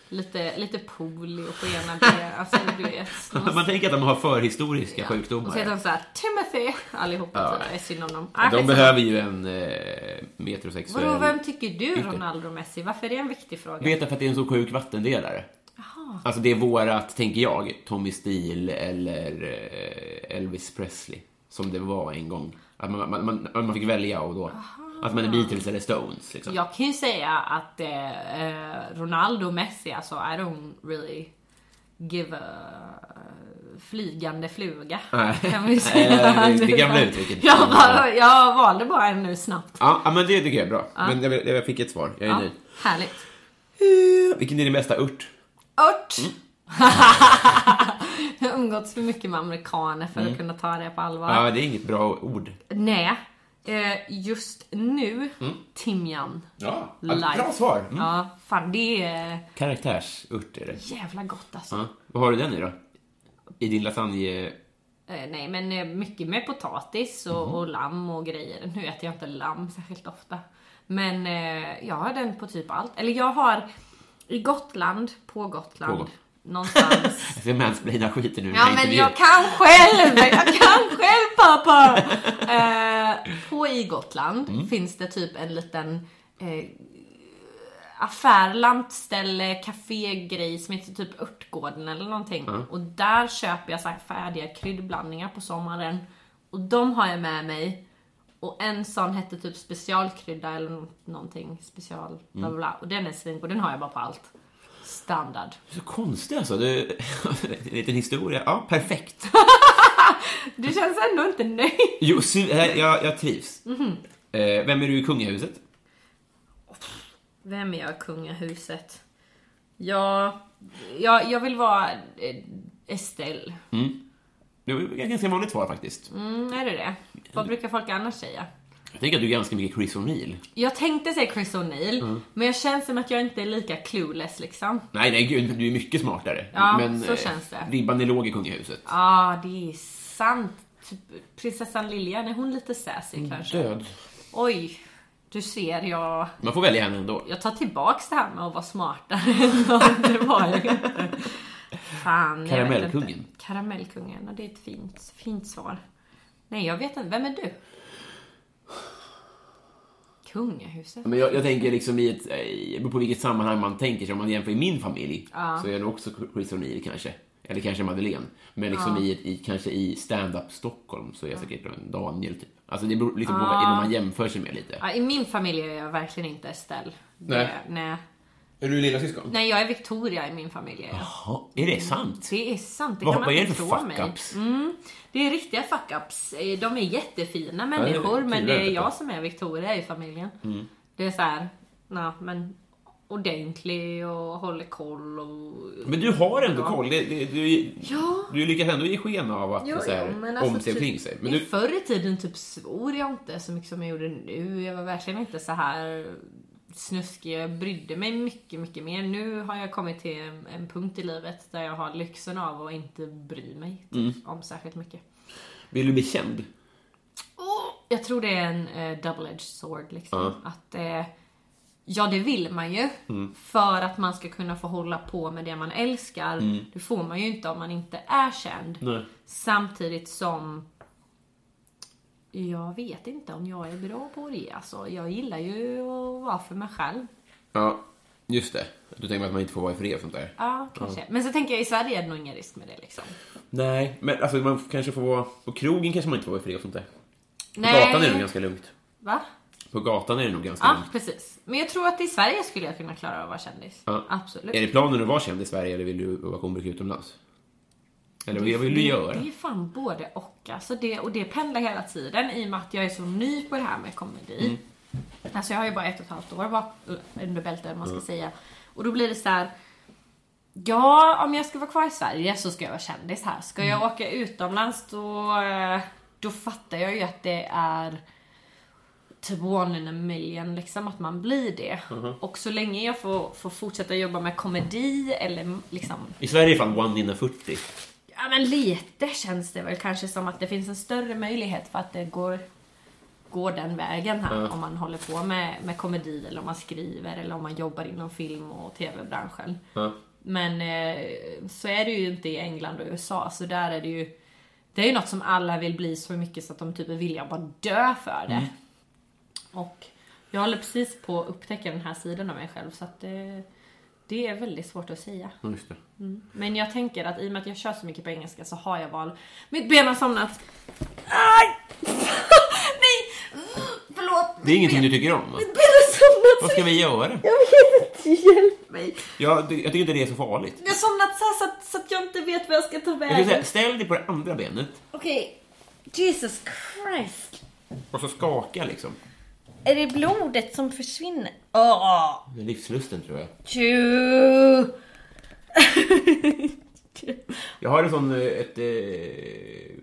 Speaker 2: lite, lite polio på ena benet. Alltså, du vet.
Speaker 1: Man tänker att de har förhistoriska
Speaker 2: Och så heter
Speaker 1: sjukdomar.
Speaker 2: de såhär Timothy allihopa.
Speaker 1: Ja.
Speaker 2: Ja. är synd om dem.
Speaker 1: De
Speaker 2: skitsamma.
Speaker 1: behöver ju en eh, metrosexuell...
Speaker 2: Vadå, vem tycker du Ronaldo Messi? Varför är det en viktig fråga?
Speaker 1: Vet jag för att det är en så sjuk vattendelare. Alltså det är vårat, tänker jag, Tommy Steele eller eh, Elvis Presley. Som det var en gång. Att man, man, man, man fick välja och då... Att man är Beatles eller Stones. Liksom.
Speaker 2: Jag kan ju säga att eh, eh, Ronaldo och Messi, alltså I don't really give a eh, flygande fluga.
Speaker 1: Nej.
Speaker 2: Kan vi
Speaker 1: Nej,
Speaker 2: säga.
Speaker 1: det- det gamla uttrycket.
Speaker 2: Jag, bara, jag valde bara en nu snabbt.
Speaker 1: Ja, ja, men det tycker jag är bra. Men jag, jag fick ett svar. Jag är
Speaker 2: Ja,
Speaker 1: nöjd.
Speaker 2: härligt.
Speaker 1: Eh, Vilken är din bästa ört?
Speaker 2: Ört!
Speaker 1: Mm.
Speaker 2: jag har umgåtts för mycket med amerikaner för att kunna ta det på allvar.
Speaker 1: Mm. Ja, det är inget bra ord.
Speaker 2: Nej, eh, just nu, timjan.
Speaker 1: Mm. Ja,
Speaker 2: Life.
Speaker 1: bra svar. Mm.
Speaker 2: Ja, fan det är eh,
Speaker 1: Karaktärsört är det.
Speaker 2: jävla gott alltså.
Speaker 1: Ja. Vad har du den i då? I din lasagne... Mm.
Speaker 2: Eh, nej, men eh, mycket med potatis och, och lamm och grejer. Nu äter jag inte lamm särskilt ofta. Men eh, jag har den på typ allt. Eller jag har i Gotland, på Gotland,
Speaker 1: På Gotland.
Speaker 2: någonstans.
Speaker 1: Jag ska mansplaina skiten nu. i den
Speaker 2: ja,
Speaker 1: här
Speaker 2: men
Speaker 1: intervjun.
Speaker 2: jag kan själv! Jag kan själv pappa! Eh, på i Gotland finns det typ en liten eh, affär, lantställe, kafégrej som heter typ Örtgården eller någonting. Och där köper jag så här färdiga kryddblandningar på sommaren. Och de har jag med mig. Och en sån hette typ specialkrydda eller nå- någonting special. Bla bla, bla. Och den är svingod, den har jag bara på allt. Standard.
Speaker 1: Så konstigt alltså. Du... en liten historia. Ja, perfekt.
Speaker 2: Du känns ändå inte nöjd.
Speaker 1: Jo, sy- här, jag, jag trivs.
Speaker 2: Mhm.
Speaker 1: Eh, vem är du i kungahuset?
Speaker 2: Vem är jag i kungahuset? Ja, jag, jag vill vara eh, Estelle.
Speaker 1: Det var ett ganska vanligt svar faktiskt.
Speaker 2: Mm, är det det? Vad brukar folk annars säga?
Speaker 1: Jag tänker att du är ganska mycket Chris O'Neill.
Speaker 2: Jag tänkte säga Chris O'Neill, men jag känns som att jag inte är lika clueless liksom.
Speaker 1: Nej, nej, gud, du är mycket smartare.
Speaker 2: Ja,
Speaker 1: men
Speaker 2: så
Speaker 1: eh,
Speaker 2: känns det.
Speaker 1: ribban är låg i kungahuset.
Speaker 2: Ja, det är sant. Typ, Prinsessan Lilian, är hon lite sassy kanske?
Speaker 1: Död.
Speaker 2: Oj, du ser, jag,
Speaker 1: Man får välja henne ändå.
Speaker 2: jag tar tillbaks det här med att vara smartare än någon. Det var jag inte. Fan, jag vet inte.
Speaker 1: Karamellkungen.
Speaker 2: Karamellkungen, ja, det är ett fint, fint svar. Nej, jag vet inte. Vem är du? Kungahuset?
Speaker 1: Men jag, jag tänker liksom i ett, eh, på vilket sammanhang man tänker sig. Om man jämför i min familj så är det också Chris O'Neill kanske. Eller kanske Madeleine. Men liksom i, ett- i, kanske i stand-up Stockholm så är jag säkert en Daniel typ. Alltså det beror liksom på vad vad man jämför sig med lite.
Speaker 2: Ja, I min familj är jag verkligen inte Estelle. Det-
Speaker 1: Nej.
Speaker 2: nej.
Speaker 1: Är du lillasyskon?
Speaker 2: Nej, jag är Victoria i min familj.
Speaker 1: Jaha, är det sant?
Speaker 2: Det är sant, det
Speaker 1: Ah. Vad,
Speaker 2: kan man
Speaker 1: vad är det
Speaker 2: inte
Speaker 1: för
Speaker 2: tro mig. Mm.
Speaker 1: fuck-ups?
Speaker 2: Det är riktiga fuck-ups. Eh, De är jättefina
Speaker 1: är
Speaker 2: människor, men
Speaker 1: tydligare
Speaker 2: det är
Speaker 1: detta.
Speaker 2: jag som är Victoria i familjen.
Speaker 1: Mm.
Speaker 2: Det är så här, ja, men ordentlig och håller koll och...
Speaker 1: Men du har ändå koll. Det, det, du,
Speaker 2: Ja.
Speaker 1: du lyckas ändå ge sken av att
Speaker 2: Jo,
Speaker 1: så här,
Speaker 2: jo, men alltså
Speaker 1: om sig och
Speaker 2: typ-
Speaker 1: kring sig. Men
Speaker 2: i
Speaker 1: du,
Speaker 2: Förr i tiden typ svor jag inte så mycket som jag gjorde nu. Jag var verkligen inte så här lite snuskig. Jag brydde mig mycket, mycket mer. Nu har jag kommit till en, en punkt i livet där jag har lyxen av att inte bry mig typ,
Speaker 1: Mm.
Speaker 2: om särskilt mycket.
Speaker 1: Vill du bli känd?
Speaker 2: Åh, Jag tror det är en eh, double-edged sword liksom.
Speaker 1: Ja. Mm.
Speaker 2: Att, eh, ja, det vill man ju. För att man ska kunna få hålla på med det man älskar. Det får man ju inte om man inte är känd.
Speaker 1: Mm. Nej.
Speaker 2: Samtidigt som jag vet inte om jag är bra på det. Alltså, jag gillar ju att vara för mig själv.
Speaker 1: Ja, just det. Du tänker att man inte får vara i fred och sånt där?
Speaker 2: Ja, kanske. Men så tänker jag i Sverige är det nog ingen risk med det liksom.
Speaker 1: Nej, men alltså man kanske får vara... På krogen kanske man inte får vara i fred och sånt där. På
Speaker 2: Nej.
Speaker 1: gatan är det nog ganska lugnt.
Speaker 2: Va?
Speaker 1: På gatan är det nog ganska
Speaker 2: Ja,
Speaker 1: lugnt.
Speaker 2: precis. Men jag tror att i Sverige skulle jag kunna klara av att vara kändis.
Speaker 1: Ja.
Speaker 2: Absolut.
Speaker 1: Är det planen att vara känd i Sverige eller vill du vara komiker utomlands? Eller vad vill du göra?
Speaker 2: Det är fan både och. Alltså det, och det pendlar hela tiden i och med att jag är så ny på det här med komedi. Alltså jag har ju bara ett och ett halvt år bak- under bältet, om man ska säga. Och då blir det så här. Ja, om jag ska vara kvar i Sverige så ska jag vara kändis här. Ska jag åka utomlands då, eh, då fattar jag ju att det är typ one in a million, liksom att man blir det. Och så länge jag får, får fortsätta jobba med komedi eller liksom
Speaker 1: I Sverige är fan one in a 40.
Speaker 2: Ja men lite känns det väl kanske som att det finns en större möjlighet för att det går, går den vägen här. Om man håller på med, med komedi eller om man skriver eller om man jobbar inom film och tv-branschen.
Speaker 1: Ja.
Speaker 2: Men eh, så är det ju inte i England och USA, så där är det ju Det är ju något som alla vill bli så mycket så att de typ är villiga att bara dö för det. Och jag håller precis på att upptäcka den här sidan av mig själv så att det, det är väldigt svårt att säga.
Speaker 1: Ja, just det.
Speaker 2: Men jag tänker att i och med att jag kör så mycket på engelska så har jag val. Mitt ben har somnat. Aj! Nej! Förlåt.
Speaker 1: Det är ingenting du tycker om? va?
Speaker 2: Mitt ben har
Speaker 1: Vad
Speaker 2: somnat.
Speaker 1: ska vi göra?
Speaker 2: Jag vet inte. Hjälp mig.
Speaker 1: Jag, jag tycker inte det är så farligt.
Speaker 2: Jag har somnat så, här så, att, så att jag inte vet vad jag ska ta
Speaker 1: Jag skulle
Speaker 2: vägen.
Speaker 1: säga, ställ dig på det andra benet
Speaker 2: Okej. Jesus Christ.
Speaker 1: och så skaka liksom.
Speaker 2: Är det blodet som försvinner? Åh!
Speaker 1: Med livslusten tror jag.
Speaker 2: Tju!
Speaker 1: Jag har en sån, eh, ett, eh,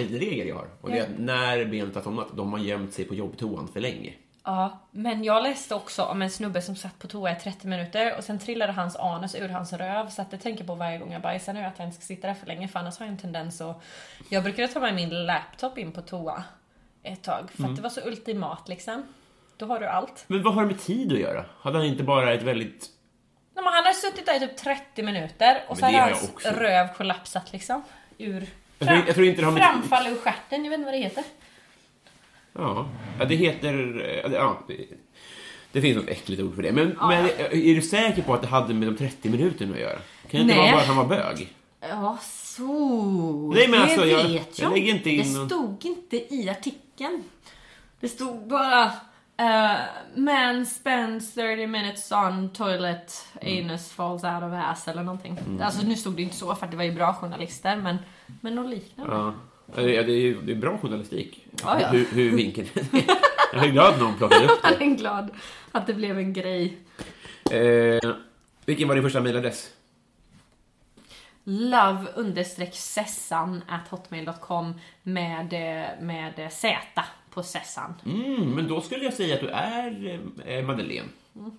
Speaker 1: en regel jag har. Och det är att när benet har somnat, de har gömt sig på jobbtoan för länge.
Speaker 2: Ja, men jag läste också om en snubbe som satt på toa i 30 minuter och sen trillade hans anus ur hans röv så att jag tänker på varje gång jag bajsar nu att jag inte ska sitta där för länge för annars har jag en tendens att... Jag brukade ta med min laptop in på toa ett tag
Speaker 1: Mm.
Speaker 2: för att det var så ultimat liksom. Då har du allt.
Speaker 1: Men vad har det med tid att göra? Hade han inte bara ett väldigt...
Speaker 2: Nej, men han hade suttit där i typ 30 minuter och så
Speaker 1: Men
Speaker 2: hade
Speaker 1: det har
Speaker 2: hans
Speaker 1: jag också.
Speaker 2: röv kollapsat liksom. Ur...
Speaker 1: Jag tror- jag tror inte det har med-
Speaker 2: Framfall ur stjärten, jag vet inte vad det heter.
Speaker 1: Ja, ja det heter... eh, Ja, det, det finns något äckligt ord för det. Men, men är du säker på att det hade med de 30 minuterna att göra? Kan det inte
Speaker 2: Nej.
Speaker 1: vara bara att han var bög?
Speaker 2: Ja, så.
Speaker 1: Nej, men
Speaker 2: det
Speaker 1: alltså, jag-
Speaker 2: vet
Speaker 1: jag lägger inte in
Speaker 2: Det
Speaker 1: någon-
Speaker 2: stod inte i artikeln. Det stod bara... Uh, man spends 30 minutes on toilet, anus falls out of ass eller någonting.
Speaker 1: Mm.
Speaker 2: Alltså nu stod det inte så för att det var ju bra journalister men, men något liknande.
Speaker 1: Ja. Ja, Det är, det är, ju- det är bra journalistik.
Speaker 2: Ja, ja.
Speaker 1: Hur, hur vinkeln är. Jag är glad att någon plockade upp
Speaker 2: Jag är glad att det blev en grej.
Speaker 1: det. Eh, vilken var din första mejladress?
Speaker 2: Love understreck sessan at hotmail.com med, eh, med eh, Z på sessan.
Speaker 1: Mm, men då skulle jag säga att du är eh, Madeleine.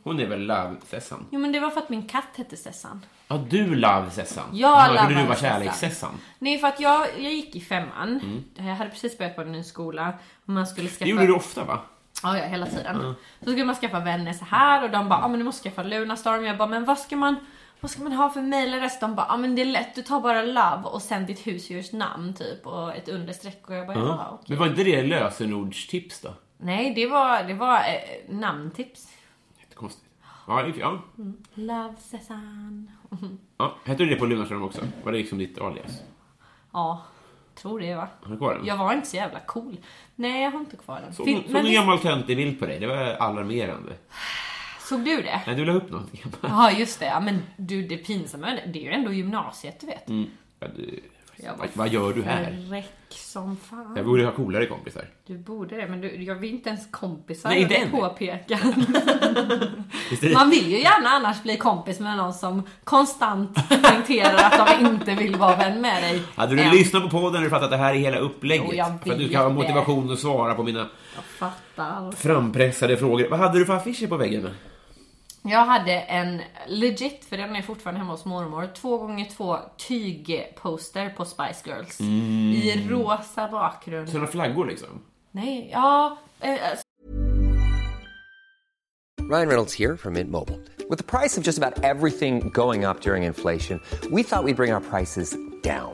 Speaker 1: Hon är väl Love-Sessan?
Speaker 2: Jo men det var för att min katt hette Sessan.
Speaker 1: Ja, du Love-Sessan.
Speaker 2: Jag
Speaker 1: Love du
Speaker 2: lovar
Speaker 1: var
Speaker 2: Sessan.
Speaker 1: Kärleks-Sessan.
Speaker 2: Nej, för att jag, jag gick i femman. Jag hade precis börjat på en ny skola. Och man skulle skaffa...
Speaker 1: Mm. Det gjorde du ofta, va?
Speaker 2: Ja, ja, hela tiden. Så skulle man skaffa vänner så här och de bara, ja ah, men du måste skaffa Lunarstorm. Jag bara, men vad ska man, vad ska man ha för mejladress? De bara, ja ah, men det är lätt, du tar bara love och sen ditt husdjurs namn typ och ett understreck. Och jag bara, ja okej.
Speaker 1: Men var inte det lösenordstips då?
Speaker 2: Nej, det var, det var eh, namntips.
Speaker 1: Jättekonstigt. Ja, i- ja.
Speaker 2: Love Cezanne.
Speaker 1: ja. Hette du det på Lunarstorm också? Var det liksom ditt alias?
Speaker 2: Ja, tror det va.
Speaker 1: Har du kvar den?
Speaker 2: Jag var inte så jävla cool. Nej, jag har inte kvar den.
Speaker 1: Såg
Speaker 2: Fin-
Speaker 1: någon- såg
Speaker 2: men
Speaker 1: någon
Speaker 2: visst-
Speaker 1: gammal töntig bild på dig? Det var alarmerande.
Speaker 2: såg du det?
Speaker 1: Nej, du la upp något gammalt.
Speaker 2: Ja just det, ja, men du det pinsamma är det är ju ändå gymnasiet du vet.
Speaker 1: Ja, du-
Speaker 2: Jag
Speaker 1: Vad- vad gör du Mm, här?
Speaker 2: Räck som fan.
Speaker 1: Jag borde ha coolare kompisar.
Speaker 2: Du borde det, men du, jag vill inte ens kompisar.
Speaker 1: Nej, inte
Speaker 2: jag
Speaker 1: än.
Speaker 2: vill påpeka.
Speaker 1: Precis.
Speaker 2: Man vill ju gärna annars bli kompis med någon som konstant poängterar att de inte vill vara vän med dig.
Speaker 1: Hade du
Speaker 2: Än.
Speaker 1: lyssnat på podden hade du fattat att det här är hela upplägget.
Speaker 2: Jo, jag
Speaker 1: för att du
Speaker 2: vet
Speaker 1: ska ha
Speaker 2: det.
Speaker 1: motivation att svara på mina
Speaker 2: Jag fattar.
Speaker 1: frampressade frågor. Vad hade du för affischer på väggen?
Speaker 2: Jag hade en legit, för den är fortfarande hemma hos mormor, 2x2 tygposter på Spice Girls. I rosa bakgrund.
Speaker 1: Sådana flaggor liksom?
Speaker 2: Nej, ja. eh,
Speaker 3: Ryan Reynolds here from Mint Mobile. With the price of just about everything going up during inflation, we thought we'd bring our prices down.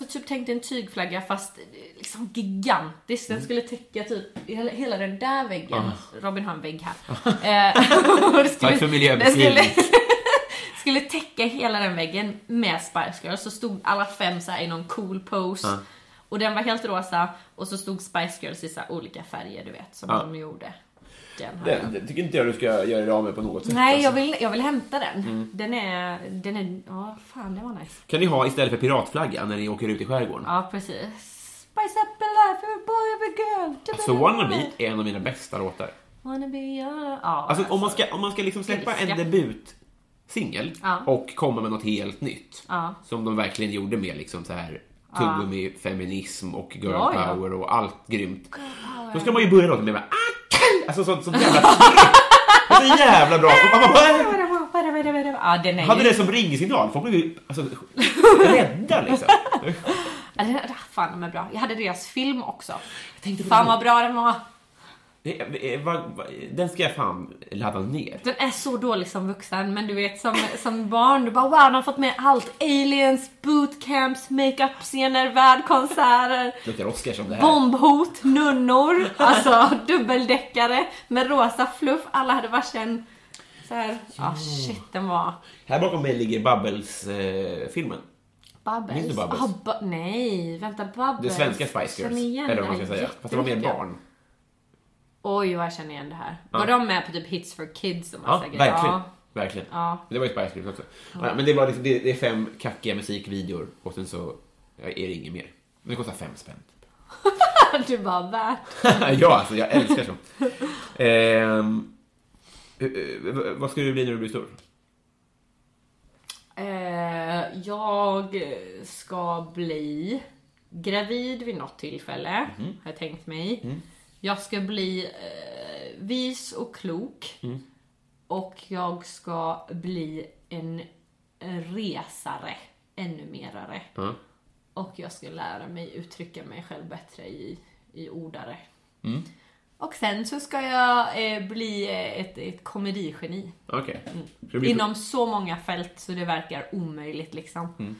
Speaker 2: Jag typ tänkte en tygflagga fast liksom gigantisk.
Speaker 1: Mm.
Speaker 2: Den skulle täcka typ hela, hela den där väggen. Robin har en vägg här. Eh, och det skulle-
Speaker 1: Ah. Tack för
Speaker 2: den skulle,
Speaker 1: miljöbeskrivningen.
Speaker 2: skulle täcka hela den väggen med Spice Girls. Så stod alla fem så här i någon cool pose.
Speaker 1: Ah.
Speaker 2: Och den var helt rosa och så stod Spice Girls i så här olika färger du vet, som
Speaker 1: Ja.
Speaker 2: de gjorde. Den här.
Speaker 1: Det, det tycker inte jag du ska göra dig av med på något sätt.
Speaker 2: Nej,
Speaker 1: alltså.
Speaker 2: jag vill, jag vill hämta den.
Speaker 1: Mm.
Speaker 2: Den är, den är, ja fan det var nice.
Speaker 1: Kan ni ha istället för piratflaggan när ni åker ut i skärgården?
Speaker 2: Ja, precis. Spice up a life, every boy, every girl.
Speaker 1: Alltså, Wannabe är en av mina bästa låtar.
Speaker 2: Wanna be your... Ja,
Speaker 1: Alltså, om man ska, om man ska liksom släppa en
Speaker 2: Älskar.
Speaker 1: debutsingel
Speaker 2: Ja.
Speaker 1: och komma med något helt nytt,
Speaker 2: Ja.
Speaker 1: som de verkligen gjorde med liksom så här tuggummi, feminism och girl
Speaker 2: Ja, ja.
Speaker 1: power och allt grymt. Då ska man ju börja låten med bara, "Ah, Alltså sånt sånt jävla Så jävla bra! Och man bara,
Speaker 2: Ja, den är
Speaker 1: hade
Speaker 2: ju...
Speaker 1: det som ringsignal. Folk blev ju alltså, rädda liksom.
Speaker 2: Ja, den är- Fan, de är bra. Jag hade deras film också. Fan vad bra den var.
Speaker 1: Det- eh, vad- vad- Den ska jag fan ladda ner.
Speaker 2: Den är så dålig som vuxen, men du vet som, som barn, du bara wow, de har fått med allt. Aliens, bootcamps, makeup-scener, värdkonserter.
Speaker 1: Luktar Oscar som det här.
Speaker 2: Bombhot, nunnor, alltså dubbeldäckare med rosa fluff. Alla hade varsin så här. ah shit den var...
Speaker 1: Här bakom mig ligger eh, Bubbles-filmen.
Speaker 2: Babbels.
Speaker 1: Minns du Babbels?
Speaker 2: Ah, ba- nej, vänta Babbels.
Speaker 1: det svenska Spice
Speaker 2: Alltså, Känner
Speaker 1: Girls.
Speaker 2: igen
Speaker 1: Eller
Speaker 2: det
Speaker 1: vad man
Speaker 2: här
Speaker 1: ska säga. Fast det var mer
Speaker 2: jättemycket.
Speaker 1: barn.
Speaker 2: Oj vad jag känner igen det här. Var de med på typ Hits for Kids och
Speaker 1: Ja,
Speaker 2: massa grejer?
Speaker 1: verkligen.
Speaker 2: Ja.
Speaker 1: Verkligen.
Speaker 2: Ja.
Speaker 1: Men Det var ju Spice Girls också. Ja. men det, var liksom, det, det är fem kackiga musikvideor och sen så ja, är det inget mer. Men det kostar fem spänn.
Speaker 2: Du bara värt.
Speaker 1: ja, alltså jag älskar sånt. Ehm, eh, eh, vad ska du bli när du blir stor?
Speaker 2: Eh, jag ska bli gravid vid något tillfälle, har jag tänkt mig. Jag ska bli eh, vis och klok. Och jag ska bli en resare, ännu merare.
Speaker 1: Ja.
Speaker 2: Och jag ska lära mig uttrycka mig själv bättre i, i ordare. Och sen så ska jag eh, bli eh, ett, ett komedigeni.
Speaker 1: Okej. Ska du bli-
Speaker 2: Inom så många fält så det verkar omöjligt liksom.
Speaker 1: Mm.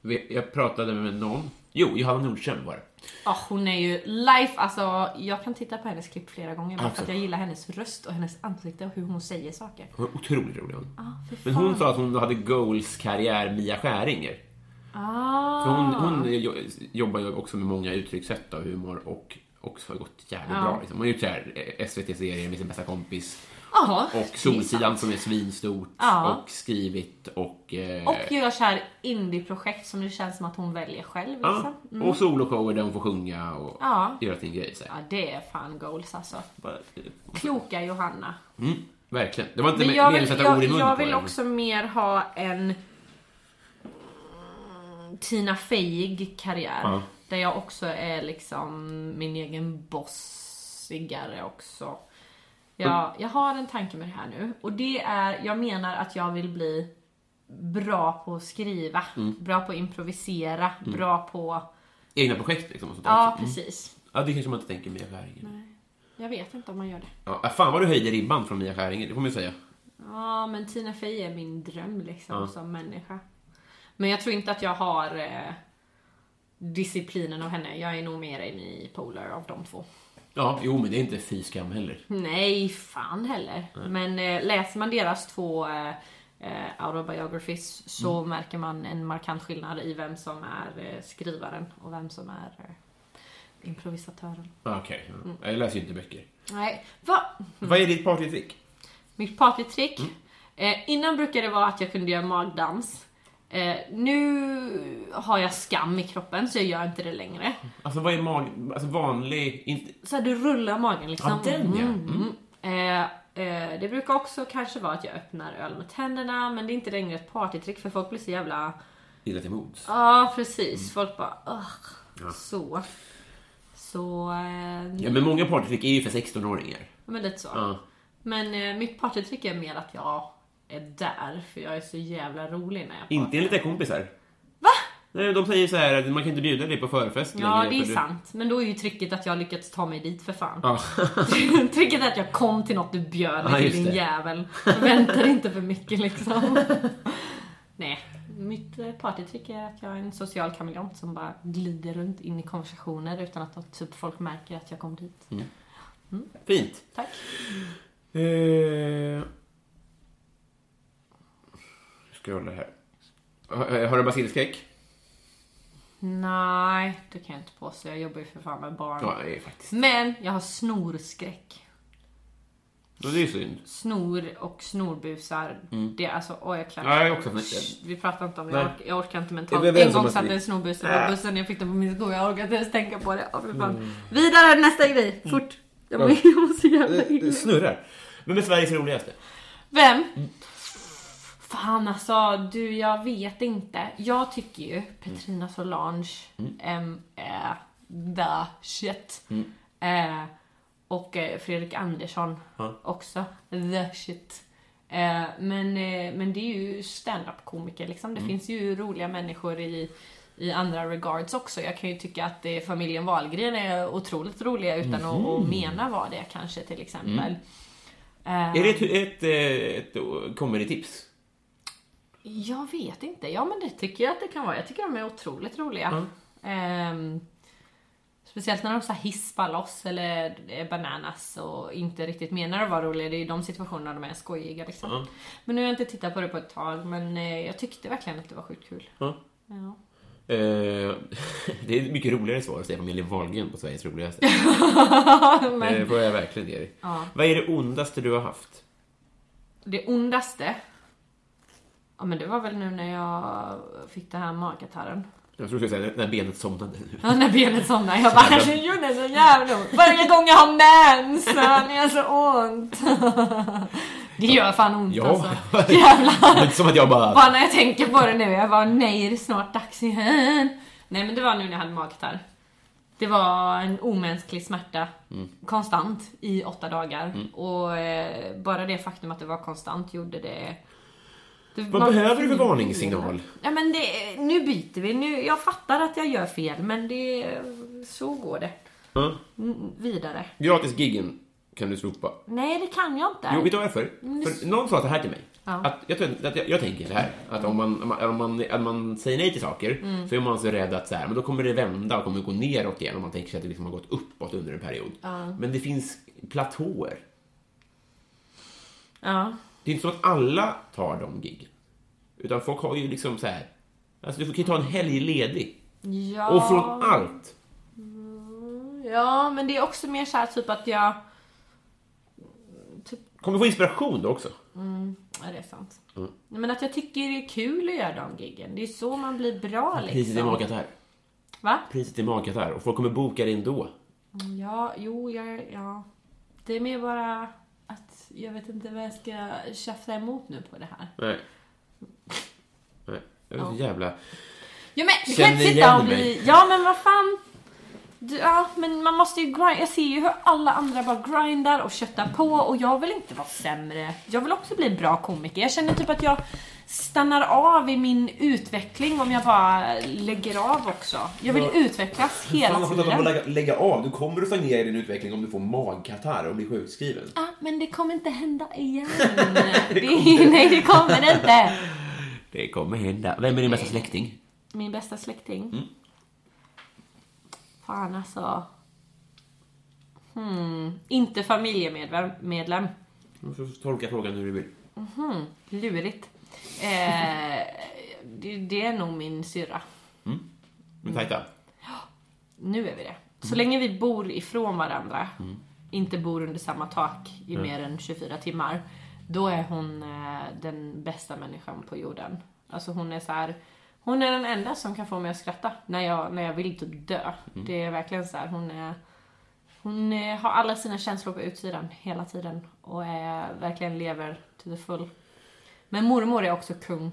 Speaker 1: Vi- Jag pratade med någon. Jo, Johanna Nordström var det.
Speaker 2: Ja, Ah, hon är ju life, alltså jag kan titta på hennes klipp flera gånger bara för
Speaker 1: Absolut.
Speaker 2: att jag gillar hennes röst och hennes ansikte och hur hon säger saker.
Speaker 1: Hon är otroligt rolig hon.
Speaker 2: fy
Speaker 1: Men hon
Speaker 2: fan.
Speaker 1: sa att hon hade goals-karriär Mia Skäringer.
Speaker 2: Ah,
Speaker 1: För hon, hon jo- jobbar ju också med många uttryckssätt av humor och också har gått jävligt bra. Liksom. Hon har gjort så här eh, SVT-serier med sin bästa kompis
Speaker 2: ja.
Speaker 1: och Solsidan som är svinstort
Speaker 2: Ja.
Speaker 1: och skrivit och... Eh,
Speaker 2: Och gör såhär indie-projekt som det känns som att hon väljer själv
Speaker 1: ja,
Speaker 2: liksom.
Speaker 1: och soloshower där hon får sjunga och
Speaker 2: Ja.
Speaker 1: göra sin grej. Så här.
Speaker 2: Ja, det är fan goals alltså.
Speaker 1: Bara, eh,
Speaker 2: Kloka Johanna.
Speaker 1: Mm, verkligen. Det var inte
Speaker 2: Men
Speaker 1: me-
Speaker 2: jag
Speaker 1: meningen att
Speaker 2: vill,
Speaker 1: sätta ord
Speaker 2: jag,
Speaker 1: i munnen
Speaker 2: jag
Speaker 1: på
Speaker 2: vill
Speaker 1: det, men-
Speaker 2: också mer ha en mm, Tina Feyig karriär.
Speaker 1: Ja.
Speaker 2: Där jag också är liksom min egen bossigare också.
Speaker 1: Mm.
Speaker 2: Jag, jag har en tanke med det här nu och det är, jag menar att jag vill bli bra på att skriva,
Speaker 1: Mm.
Speaker 2: bra på att improvisera, bra på...
Speaker 1: Egna projekt liksom. Och sånt där
Speaker 2: Ja,
Speaker 1: också.
Speaker 2: precis.
Speaker 1: ja, det kanske man inte tänker Mia Skäringer.
Speaker 2: Jag vet inte om man gör det.
Speaker 1: Ja, äh, fan vad du höjde ribban från Mia Skäringer, det får man ju säga.
Speaker 2: Ja, men Tina Fey är min dröm liksom som människa. Men jag tror inte att jag har eh, disciplinen av henne. Jag är nog mer en i polar av de två.
Speaker 1: Ja, jo men det är inte fy skam heller.
Speaker 2: Nej, fan heller. Men eh, läser man deras två eh, eh, autobiographies så märker man en markant skillnad i vem som är eh, skrivaren och vem som är eh, improvisatören.
Speaker 1: Ah, Okej, ja.
Speaker 2: Mm.
Speaker 1: jag läser ju inte böcker.
Speaker 2: Nej, va?
Speaker 1: Mm. Vad är ditt partytrick?
Speaker 2: Mitt partytrick. Eh, innan brukade det vara att jag kunde göra magdans. Eh, nu har jag skam i kroppen så jag gör inte det längre.
Speaker 1: Alltså vad är mag... Alltså vanlig... Inte...
Speaker 2: Så här, det rullar magen liksom.
Speaker 1: Ja, den ja.
Speaker 2: Mm, mm. Eh, eh, det brukar också kanske vara att jag öppnar öl med tänderna men det är inte längre ett partytrick för folk blir så jävla...
Speaker 1: Illa till mods.
Speaker 2: Ja precis,
Speaker 1: Mm.
Speaker 2: folk bara "Ugh." Så. Så... Eh,
Speaker 1: Ja, men många partytrick är ju för 16-åringar.
Speaker 2: Men lite så.
Speaker 1: Ja.
Speaker 2: Men eh, mitt partytrick är mer att jag är där, för jag är så jävla rolig när jag
Speaker 1: Inte enligt dina kompisar.
Speaker 2: Va?
Speaker 1: Nej, de säger så här att man kan inte bjuda dig på förfest
Speaker 2: Ja,
Speaker 1: längre, för
Speaker 2: det är
Speaker 1: du-
Speaker 2: sant. Men då är ju tricket att jag har lyckats ta mig dit för fan.
Speaker 1: Ja.
Speaker 2: tricket är att jag kom till något du bjöd
Speaker 1: Ja,
Speaker 2: mig
Speaker 1: just
Speaker 2: till din
Speaker 1: det.
Speaker 2: jävel. Väntar inte för mycket liksom. Nej, mitt eh, partytrick är att jag är en social kameleont som bara glider runt in i konversationer utan att de- typ folk märker att jag kom dit.
Speaker 1: Fint.
Speaker 2: Tack.
Speaker 1: Eh... Jag ska hålla här. Har- Har du basilskräck?
Speaker 2: Nej, det kan jag inte påstå. Jag jobbar ju för fan med barn.
Speaker 1: Ja, det är faktiskt.
Speaker 2: Men jag har snorskräck.
Speaker 1: Ja, Det är ju synd.
Speaker 2: snor och snorbusar. Det är alltså, åh jag klarar
Speaker 1: Ja, Mm. jag är också för-
Speaker 2: Shh, Vi pratar inte om det,
Speaker 1: Nej.
Speaker 2: jag, orkar, jag orkar inte
Speaker 1: Är vi
Speaker 2: mentalt.
Speaker 1: överens
Speaker 2: En
Speaker 1: om
Speaker 2: gång
Speaker 1: att
Speaker 2: satt
Speaker 1: vi- Äh.
Speaker 2: en snorbuse på bussen, jag fick den på min sko, jag orkar inte ens tänka på det. Åh, för fan. Vidare nästa grej, fort! Jag mår jag mår så jävla
Speaker 1: Mm. Det, det
Speaker 2: illa.
Speaker 1: snurrar. Vem är Sveriges roligaste?
Speaker 2: Vem? Fan alltså, du jag vet inte. Jag tycker ju Petrina Solange mm. är the shit. Eh, och eh, Fredrik Andersson också, the shit. Eh, men, eh, men det är ju stand-up komiker liksom. Det finns ju roliga människor i, i andra regards också. Jag kan ju tycka att eh, familjen Wahlgren är otroligt roliga utan att, att mena vad det är kanske till exempel. Eh,
Speaker 1: Är det ett, ett, eh, ett, eh, comedy-tips?
Speaker 2: jag vet inte. Ja, men det tycker jag att det kan vara. Jag tycker de är otroligt roliga. Ehm, speciellt när de så här hispar loss eller är bananas och inte riktigt menar att vara roliga. Det är ju de situationerna de är skojiga liksom. Men nu har jag inte tittat på det på ett tag, men eh, jag tyckte verkligen att det var sjukt kul.
Speaker 1: Ja.
Speaker 2: Ja.
Speaker 1: Eh, det är ett mycket roligare svar att säga familjen Wahlgren på Sveriges roligaste.
Speaker 2: men
Speaker 1: Det får jag verkligen ge dig.
Speaker 2: Ja.
Speaker 1: Vad är det ondaste du har haft?
Speaker 2: det ondaste. Ja, men det var väl nu när jag fick det här magkatarren.
Speaker 1: Jag tror du skulle säga när benet somnade.
Speaker 2: Ja, när benet somnar. Jag bara, det gjorde så jävla ont. Varje gång jag har mens, det gör så ont. Det gör fan ont
Speaker 1: Ja,
Speaker 2: alltså. Jävlar.
Speaker 1: det är inte som att jag bara...
Speaker 2: Bara när jag tänker på det nu, jag bara, nej det är snart dags igen. Nej men det var nu när jag hade magkatarr. Det var en omänsklig smärta.
Speaker 1: Mm.
Speaker 2: Konstant i åtta dagar. Och eh, bara det faktum att det var konstant gjorde det... det
Speaker 1: Vad behöver du för varningssignal?
Speaker 2: Ja, men det, nu byter vi. Nu, jag fattar att jag gör fel, men det, så går det.
Speaker 1: Ja.
Speaker 2: Mm, vidare.
Speaker 1: Gratisgiggen kan du slopa.
Speaker 2: Nej, det kan jag inte.
Speaker 1: Jo, vet du varför? För någon sa det här till mig.
Speaker 2: Ja.
Speaker 1: Att jag, tror att jag, jag tänker så här, att om man, om man, om man, om man säger nej till saker
Speaker 2: Mm.
Speaker 1: så är man så rädd att så här, men då kommer det vända och kommer gå neråt igen om man tänker sig att det liksom har gått uppåt under en period. Men det finns platåer.
Speaker 2: Ja.
Speaker 1: Det är inte så att alla tar de giggen. Utan folk har ju liksom så här, alltså du kan ju ta en helg ledig.
Speaker 2: Ja.
Speaker 1: Och från allt.
Speaker 2: ja, men det är också mer så här typ att jag...
Speaker 1: Kommer få inspiration då också.
Speaker 2: Ja, det är sant. Nej, Men att jag tycker det är kul att göra de giggen. Det är så man blir bra
Speaker 1: Priset är
Speaker 2: liksom.
Speaker 1: magkatarr.
Speaker 2: Va?
Speaker 1: Priset är magkatarr och folk kommer boka det ändå.
Speaker 2: Ja, jo, jag... Ja. Det är mer bara att jag vet inte vad jag ska tjafsa emot nu på det här.
Speaker 1: Nej. Nej. Jag är så jävla...
Speaker 2: Ja, men du kan
Speaker 1: Känner
Speaker 2: inte sitta
Speaker 1: igen
Speaker 2: och bli...
Speaker 1: mig.
Speaker 2: Ja, men vad fan. Du, ja, men man måste ju grind. Jag ser ju hur alla andra bara grindar och köttar på och jag vill inte vara sämre. Jag vill också bli en bra komiker. Jag känner typ att jag stannar av i min utveckling om jag bara lägger av också. Jag vill utvecklas hela
Speaker 1: Fan, har du pratat om att
Speaker 2: tiden.
Speaker 1: lägga, lägga av? Du kommer att stagnera i din utveckling om du får magkatarr och blir sjukskriven.
Speaker 2: Ah, men det kommer inte hända igen. det nej, det kommer inte.
Speaker 1: Det kommer hända. Vem är din bästa släkting?
Speaker 2: Min bästa släkting. Fan alltså. Hmm. Inte familjemedlem. Medlem.
Speaker 1: Du får tolka frågan hur du vill.
Speaker 2: Lurigt. Eh, det, det är nog min syrra.
Speaker 1: Men
Speaker 2: Mm.
Speaker 1: tajta.
Speaker 2: Nu är vi det. Så länge vi bor ifrån varandra, inte bor under samma tak i mer än 24 timmar, då är hon eh, den bästa människan på jorden. Alltså hon är så här, hon är den enda som kan få mig att skratta när jag, när jag vill typ dö. Det är verkligen så här, hon är hon eh, har alla sina känslor på utsidan hela tiden och är, verkligen lever to the full. Men mormor är också kung.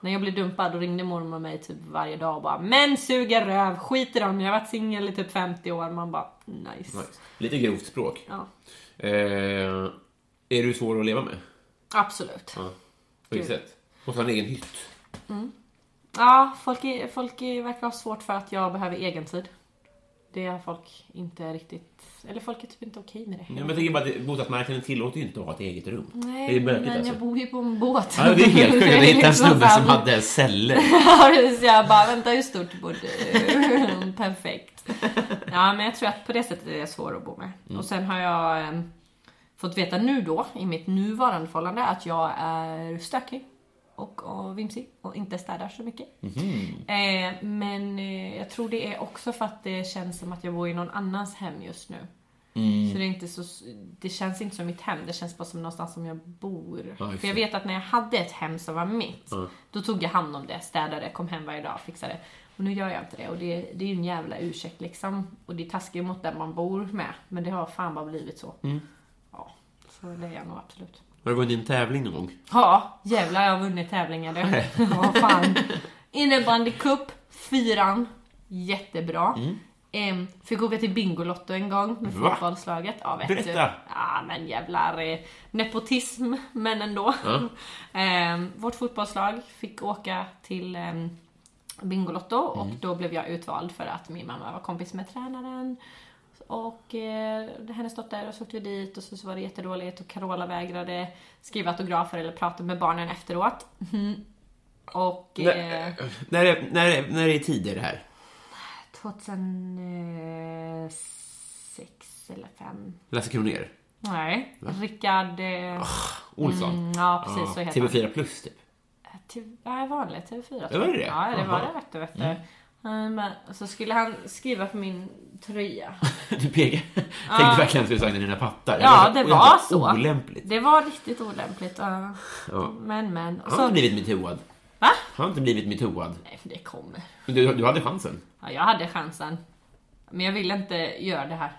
Speaker 2: När jag blev dumpad då ringde mormor mig typ varje dag och bara Men suger röv, skit i dem, jag har varit singel i typ 50 år. Man bara nice.
Speaker 1: Nice. Lite grovt språk.
Speaker 2: Ja,
Speaker 1: Eh, är du svår att leva med?
Speaker 2: absolut. Ja,
Speaker 1: Ja. På vilket sätt? Måste ha en egen hytt.
Speaker 2: folk, är, folk är, verkar ha svårt för att jag behöver egentid. Det har folk inte riktigt, eller folk är typ inte okej med det.
Speaker 1: Ja, men jag tänker bara att bostadsmarknaden tillåter ju inte att ha ett eget rum. det
Speaker 2: Nej,
Speaker 1: är bökigt
Speaker 2: men
Speaker 1: alltså.
Speaker 2: jag bor ju på en båt.
Speaker 1: Ja, det är helt sjukt att hitta en
Speaker 2: liksom
Speaker 1: snubbe
Speaker 2: så här-
Speaker 1: som hade en celler.
Speaker 2: Ja, så jag bara, vänta hur stort bor du? Perfekt. Ja, men jag tror att på det sättet är jag svår att bo med. Och sen har jag eh, fått veta nu då, i mitt nuvarande förhållande, att jag är stökig och, och vimsig och inte städar så mycket. Eh, men eh, jag tror det är också för att det känns som att jag bor i någon annans hem just nu. Så det, är inte så, det känns inte som mitt hem, det känns bara som någonstans som jag bor.
Speaker 1: Ja, just
Speaker 2: för jag
Speaker 1: det.
Speaker 2: vet att när jag hade ett hem som var mitt, då tog jag hand om det, städade, kom hem varje dag, fixade. Och nu gör jag inte det och det, det är ju en jävla ursäkt liksom. Och det är taskigt mot den man bor med, men det har fan bara blivit så. Ja, så det är jag nog absolut.
Speaker 1: Har du vunnit en tävling någon gång?
Speaker 2: Ja, jävlar jag har vunnit tävlingar du. Ja, fan. Innebandycup, fyran. Jättebra. Em, fick åka till Bingolotto en gång med
Speaker 1: Mm. Va?
Speaker 2: fotbollslaget. Ja, vet Du.
Speaker 1: Berätta.
Speaker 2: Ja, men jävlar. eh, Nepotism, men ändå. Em, vårt fotbollslag fick åka till em, Bingolotto och
Speaker 1: Mm.
Speaker 2: då blev jag utvald för att min mamma var kompis med tränaren. Och eh, hennes dotter, och så åkte vi dit och så, så var det jättedåligt och Carola vägrade skriva autografer eller prata med barnen efteråt. Mhm. Och... Eh,
Speaker 1: När, när, är, när, är, när är tider det här?
Speaker 2: 2006 eller 5.
Speaker 1: Lasse Kronér?
Speaker 2: Nej, Rickard...
Speaker 1: Ah,
Speaker 2: Eh,
Speaker 1: Olsson?
Speaker 2: mm, ja, precis
Speaker 1: Ah,
Speaker 2: så heter han.
Speaker 1: TV4 plus, typ.
Speaker 2: TV, nej, vanligt TV4.
Speaker 1: Det var det det?
Speaker 2: Ja, det var
Speaker 1: Jaha.
Speaker 2: det vet du. Vet du. Mm, men, så skulle han skriva på min tröja.
Speaker 1: Du pekar. Tänkte verkligen att du sagde dina pattar.
Speaker 2: Ja, det var
Speaker 1: jävla
Speaker 2: så.
Speaker 1: Olämpligt.
Speaker 2: Det var riktigt olämpligt. ja.
Speaker 1: Ja.
Speaker 2: Men, men.
Speaker 1: Han
Speaker 2: Och
Speaker 1: har
Speaker 2: så,
Speaker 1: inte blivit metooad.
Speaker 2: va?
Speaker 1: Han har inte blivit metooad.
Speaker 2: Nej, för det kommer.
Speaker 1: Men du, du hade chansen.
Speaker 2: Ja, jag hade chansen. Men jag ville inte göra det här.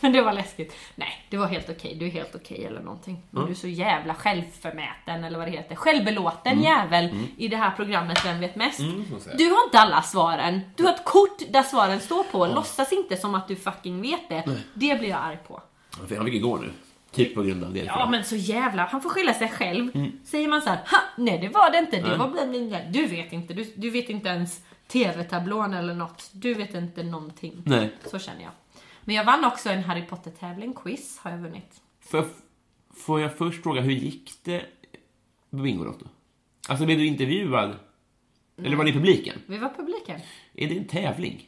Speaker 2: Men det var läskigt. Nej, det var helt okej. Du är helt okej eller någonting. Men du är så jävla självförmäten eller vad det heter. Självbelåten jävel i det här programmet Vem vet mest? Du har inte alla svaren. Du har ett kort där svaren står på. Låtsas inte som att du fucking vet det. Det blir jag arg på.
Speaker 1: Han fick- han fick ju gå nu. Typ på grund av det.
Speaker 2: Ja men så jävla, han får skylla sig själv.
Speaker 1: Mm.
Speaker 2: Säger man så här, ha, nej det var det inte, det var bland mina. Du vet inte, du, du vet inte ens TV-tablån eller något. Du vet inte någonting.
Speaker 1: Nej.
Speaker 2: Så känner jag. Men jag vann också en Harry Potter-tävling, quiz har jag vunnit.
Speaker 1: Får jag, får jag först fråga, hur gick det på Bingolotto? Alltså, blev du intervjuad? Eller var det i publiken?
Speaker 2: Vi var publiken.
Speaker 1: Är det en tävling?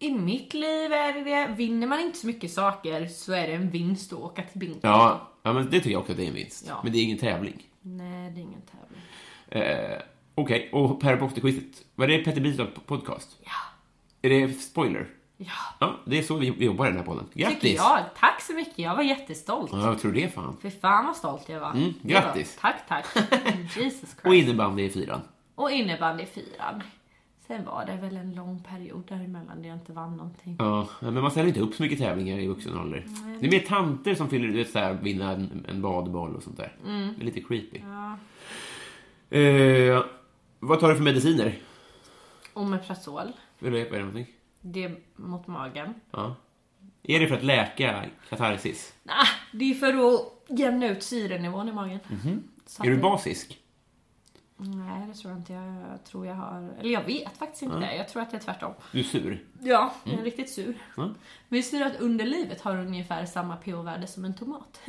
Speaker 2: I mitt liv är det det, vinner man inte så mycket saker så är det en vinst att åka till bingo.
Speaker 1: Ja, ja men det tycker jag också att det är en vinst.
Speaker 2: Ja.
Speaker 1: Men det är ingen tävling.
Speaker 2: Nej, det är ingen tävling.
Speaker 1: Eh, Okej, och Per Boxter-quizet. Vad är det Petter Bilstorp podcast?
Speaker 2: Ja,
Speaker 1: Är det spoiler?
Speaker 2: ja.
Speaker 1: Ja, det är så vi vi jobbar i den här podden. Grattis!
Speaker 2: Tycker jag. Tack så mycket, jag var jättestolt.
Speaker 1: Ja, jag tror det fan.
Speaker 2: Fy fan vad stolt jag var.
Speaker 1: Mm,
Speaker 2: Det var-
Speaker 1: grattis.
Speaker 2: Tack, tack. Jesus Christ.
Speaker 1: Och innebandy i fyran.
Speaker 2: och innebandy fyran. Sen var det väl en lång period däremellan där jag inte vann någonting.
Speaker 1: Ja, men man ställer inte upp så mycket tävlingar i vuxen ålder. Det är mer tanter som fyller ut så här, vinna en, en badboll och sånt där. Det är lite creepy. Eh, Vad tar du för mediciner?
Speaker 2: Omeprazol,
Speaker 1: Vill du veta vad det är för någonting?
Speaker 2: det är mot magen.
Speaker 1: Ja. Är det för att läka katarsis?
Speaker 2: Nej, det är för att jämna ut syrenivån i magen. Så
Speaker 1: Mhm. Är du
Speaker 2: att-
Speaker 1: basisk?
Speaker 2: Nej, det tror jag inte. Jag tror jag har... Eller jag vet faktiskt inte. Jag tror att det är tvärtom.
Speaker 1: Du är sur?
Speaker 2: Ja, jag är riktigt sur.
Speaker 1: Mm. Ja.
Speaker 2: Visste du att underlivet har ungefär samma pH-värde som en tomat?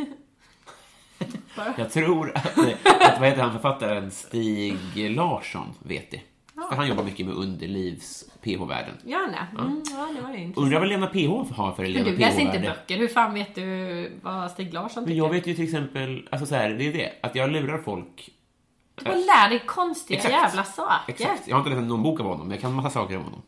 Speaker 2: Bara.
Speaker 1: Jag tror att, eh, att vad heter han författaren Stig Larsson vet det. För han jobbar mycket med underlivs PH-värden.
Speaker 2: Gärna. Mm, ja, det var det inte.
Speaker 1: Undrar vad Lena PH har för
Speaker 2: Men
Speaker 1: Lena
Speaker 2: du läser inte
Speaker 1: PH-värde?
Speaker 2: böcker. Hur fan vet du vad Stig Larsson
Speaker 1: Men
Speaker 2: tycker?
Speaker 1: jag vet ju till exempel, alltså så här, det är det, att jag lurar folk.
Speaker 2: Du bara lär dig konstiga
Speaker 1: Exakt.
Speaker 2: jävla saker.
Speaker 1: Exakt. Jag har inte läst någon bok av honom, men jag kan massa saker om honom.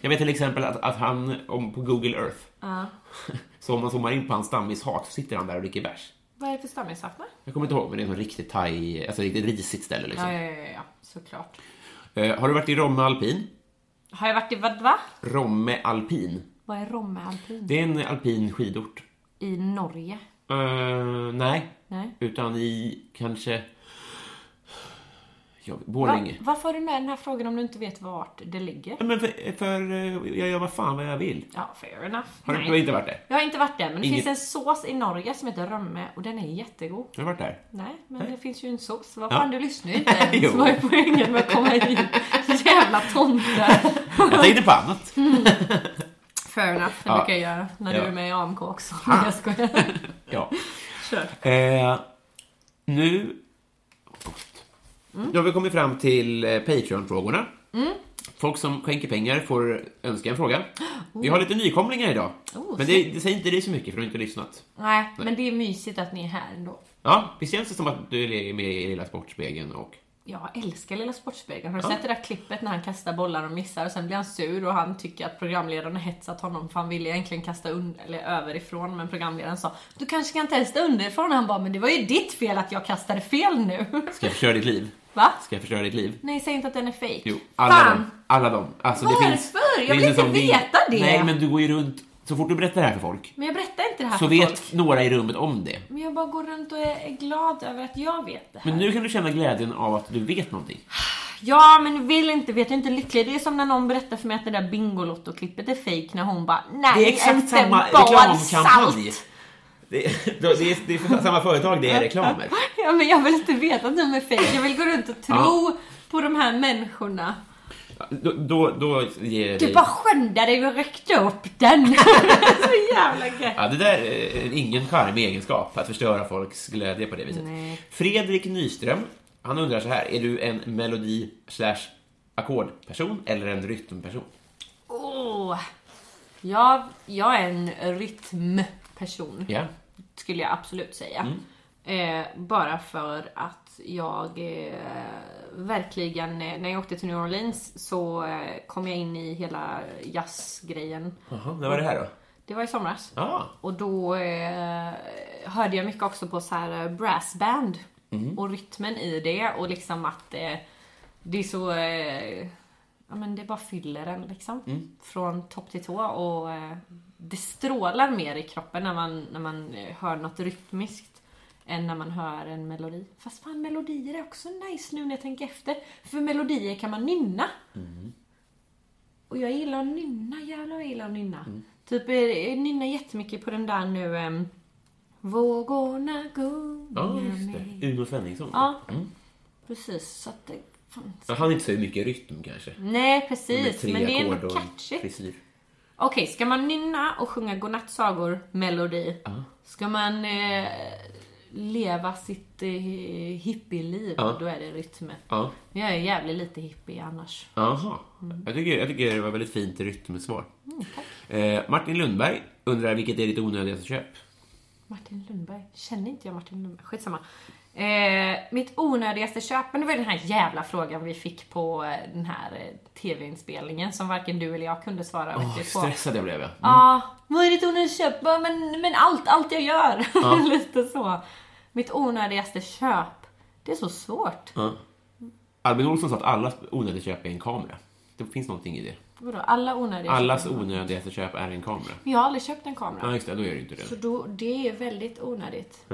Speaker 1: Jag vet till exempel att, att han, om, på Google Earth,
Speaker 2: Ja.
Speaker 1: så om man zoomar in på hans stammishat så sitter han där och dricker bärs.
Speaker 2: Vad är det för stamningssafna?
Speaker 1: Jag kommer inte ihåg, men det är något riktigt thai, alltså riktigt risigt ställe liksom.
Speaker 2: Ja, ja, ja, ja, såklart.
Speaker 1: Eh, har du varit i Romme alpin?
Speaker 2: Har jag varit i vad, va?
Speaker 1: Romme alpin.
Speaker 2: Vad är Romme alpin?
Speaker 1: Det är en alpin skidort.
Speaker 2: I Norge?
Speaker 1: Eh, nej.
Speaker 2: Nej.
Speaker 1: Utan i kanske... Ja,
Speaker 2: Va,
Speaker 1: Borlänge.
Speaker 2: varför har du med den här frågan om du inte vet vart det ligger?
Speaker 1: Ja, Men för, för eh, jag gör vad fan vad jag vill.
Speaker 2: Ja, fair enough.
Speaker 1: Har du,
Speaker 2: Nej.
Speaker 1: du har inte varit där?
Speaker 2: Jag har inte varit där, men det
Speaker 1: Inget-
Speaker 2: finns en sås i Norge som heter römme och den är jättegod.
Speaker 1: Har du varit där?
Speaker 2: Nej, men det finns ju en sås. Vad
Speaker 1: Ja.
Speaker 2: fan, du lyssnar ju inte ens.
Speaker 1: Jo.
Speaker 2: Vad är poängen med att komma hit? Jävla tomte.
Speaker 1: Jag tänkte på annat.
Speaker 2: Fair enough, det
Speaker 1: Ja.
Speaker 2: brukar jag göra när
Speaker 1: Ja.
Speaker 2: du är med i AMK också. Ah. Jag skojar.
Speaker 1: Ja.
Speaker 2: Kör.
Speaker 1: Eh, nu...
Speaker 2: Mm.
Speaker 1: Då har vi kommit fram till eh, Patreon-frågorna. Folk som skänker pengar får önska en fråga. Vi har lite nykomlingar idag.
Speaker 2: Oh,
Speaker 1: men det, det säger inte dig så mycket, för du har inte lyssnat.
Speaker 2: Nej, men det är mysigt att ni är här ändå.
Speaker 1: Ja, visst känns det som att du är med i Lilla Sportspegeln och...
Speaker 2: Jag älskar Lilla Sportspegeln. Har du sett det där klippet när han kastar bollar och missar och sen blir han sur och han tycker att programledaren har hetsat honom för han ville egentligen kasta under, eller överifrån men programledaren sa Du kanske kan testa underifrån och han bara Men det var ju ditt fel att jag kastade fel nu.
Speaker 1: Ska jag förstöra ditt liv?
Speaker 2: Va?
Speaker 1: Ska jag förstöra ditt liv?
Speaker 2: Nej, säg inte att den är fake.
Speaker 1: Jo, alla
Speaker 2: Fan!
Speaker 1: dem. Alla dem. Alltså, det
Speaker 2: Varför?
Speaker 1: finns,
Speaker 2: Jag
Speaker 1: det
Speaker 2: vill
Speaker 1: finns en
Speaker 2: inte
Speaker 1: sån ving-
Speaker 2: veta det.
Speaker 1: Nej, men du går ju runt... Så fort du berättar det här för folk,
Speaker 2: Men jag berättar inte det här
Speaker 1: så
Speaker 2: för
Speaker 1: vet
Speaker 2: Alltså, folk.
Speaker 1: några i rummet om det.
Speaker 2: Men jag bara går runt och är är glad över att jag vet det här.
Speaker 1: Men nu kan du känna glädjen av att du vet någonting.
Speaker 2: Ja, men vill inte, vet jag inte lycklig. Det är som när någon berättar för mig att det där Bingolotto-klippet är fake när hon bara Nej,
Speaker 1: Det är exakt
Speaker 2: inte
Speaker 1: samma
Speaker 2: en boll
Speaker 1: reklamkampanj.
Speaker 2: salt."
Speaker 1: Det är, det, är, det är för samma företag, det är reklamer.
Speaker 2: Ja, men jag vill inte veta att de är fake. Jag vill gå runt och tro på de här människorna.
Speaker 1: Då, då, då ger jag
Speaker 2: Du
Speaker 1: dig...
Speaker 2: bara skända dig och räckte upp den. Så jävla gött.
Speaker 1: Ja, det där är ingen charmig egenskap, att förstöra folks glädje på det viset.
Speaker 2: Nej.
Speaker 1: Fredrik Nyström, han undrar så här, är du en melodi slash ackordperson eller en rytmperson?
Speaker 2: Åh. Jag, jag är en rytmperson.
Speaker 1: Ja.
Speaker 2: skulle jag absolut säga. Eh, bara för att jag eh, verkligen, eh, när jag åkte till New Orleans så eh, kom jag in i hela jazzgrejen.
Speaker 1: Jaha, när var det här då?
Speaker 2: Det var i somras.
Speaker 1: Ja, ah,
Speaker 2: Och då eh, hörde jag mycket också på så här eh, brassband och rytmen i det och liksom att eh, det är så... Eh, ja men det bara fyller en liksom.
Speaker 1: Mm.
Speaker 2: Från topp till tå och eh, det strålar mer i kroppen när man, när man eh, hör något rytmiskt än när man hör en melodi. Fast fan melodier är också nice nu när jag tänker efter. För melodier kan man nynna.
Speaker 1: Mm.
Speaker 2: Och jag gillar att nynna, jävlar vad jag gillar att nynna.
Speaker 1: Mm.
Speaker 2: Typ, eh, jag nynnar jättemycket på den där nu ehm, Vågorna gungar
Speaker 1: ah, just
Speaker 2: mig.
Speaker 1: det. Uno Svenningsson.
Speaker 2: Ja,
Speaker 1: Mm.
Speaker 2: precis. Så att det, fan,
Speaker 1: Ja, Han har inte så mycket rytm kanske.
Speaker 2: Nej
Speaker 1: Med
Speaker 2: precis,
Speaker 1: tre
Speaker 2: men det är
Speaker 1: ackord
Speaker 2: ändå
Speaker 1: och en
Speaker 2: catchy.
Speaker 1: frisyr.
Speaker 2: Okej, ska man nynna och sjunga godnattsagor, melodi? Ska man eh, leva sitt eh, hippieliv,
Speaker 1: Ja.
Speaker 2: då är det rytmen.
Speaker 1: Ja.
Speaker 2: Men jag är jävligt lite hippie annars.
Speaker 1: Jaha. Jag, tycker, jag tycker det var väldigt fint rytmsvar.
Speaker 2: Mm,
Speaker 1: eh, Martin Lundberg undrar vilket är ditt onödigaste köp?
Speaker 2: Martin Lundberg? Känner inte jag Martin Lundberg? Skitsamma. Eh, mitt onödigaste köp, men det var ju den här jävla frågan vi fick på eh, den här eh, TV-inspelningen som varken du eller jag kunde svara
Speaker 1: Åh,
Speaker 2: vettigt på.
Speaker 1: stressad jag blev. Ja.
Speaker 2: Ja, vad är ditt onödigaste köp? Bara, Men, men allt, allt jag gör. Lite så. Mitt onödigaste köp. Det är så svårt.
Speaker 1: Albin Olsson sa att allas onödiga köp är en kamera. Det finns någonting i det.
Speaker 2: Vadå, alla onödiga
Speaker 1: Allas
Speaker 2: köp?
Speaker 1: onödigaste köp är en kamera.
Speaker 2: Men jag har aldrig köpt en kamera.
Speaker 1: Ja, just det. Då gör du inte
Speaker 2: Så
Speaker 1: det.
Speaker 2: då, det är väldigt onödigt.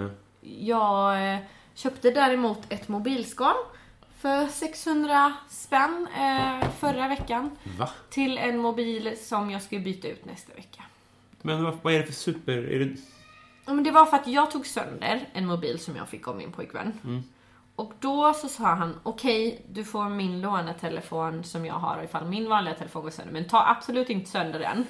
Speaker 2: Jag eh, köpte däremot ett mobilskal. för 600 spänn eh, förra veckan.
Speaker 1: Va?
Speaker 2: Till en mobil som jag ska byta ut nästa vecka.
Speaker 1: Men vad, vad är det för super... Är det...
Speaker 2: Ja, men det var för att jag tog sönder en mobil som jag fick av min pojkvän. Och då så sa han, okej du får min lånetelefon som jag har ifall min vanliga telefon går sönder. Men ta absolut inte sönder den.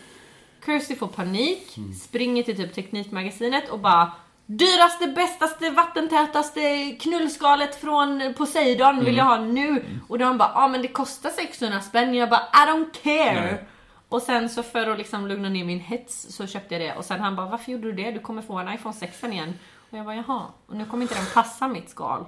Speaker 2: Kirsty får panik,
Speaker 1: Mm.
Speaker 2: springer till typ Teknikmagasinet och bara Dyraste, bästaste, vattentätaste knullskalet från Poseidon
Speaker 1: Mm.
Speaker 2: vill jag ha nu. Och de bara, ja ah, men det kostar 600 spänn. Jag bara, I don't care.
Speaker 1: Nej.
Speaker 2: Och sen så för att liksom lugna ner min hets så köpte jag det och sen han bara varför gjorde du det? Du kommer få en iPhone 6 igen. Och jag bara jaha, och nu kommer inte den passa mitt skal.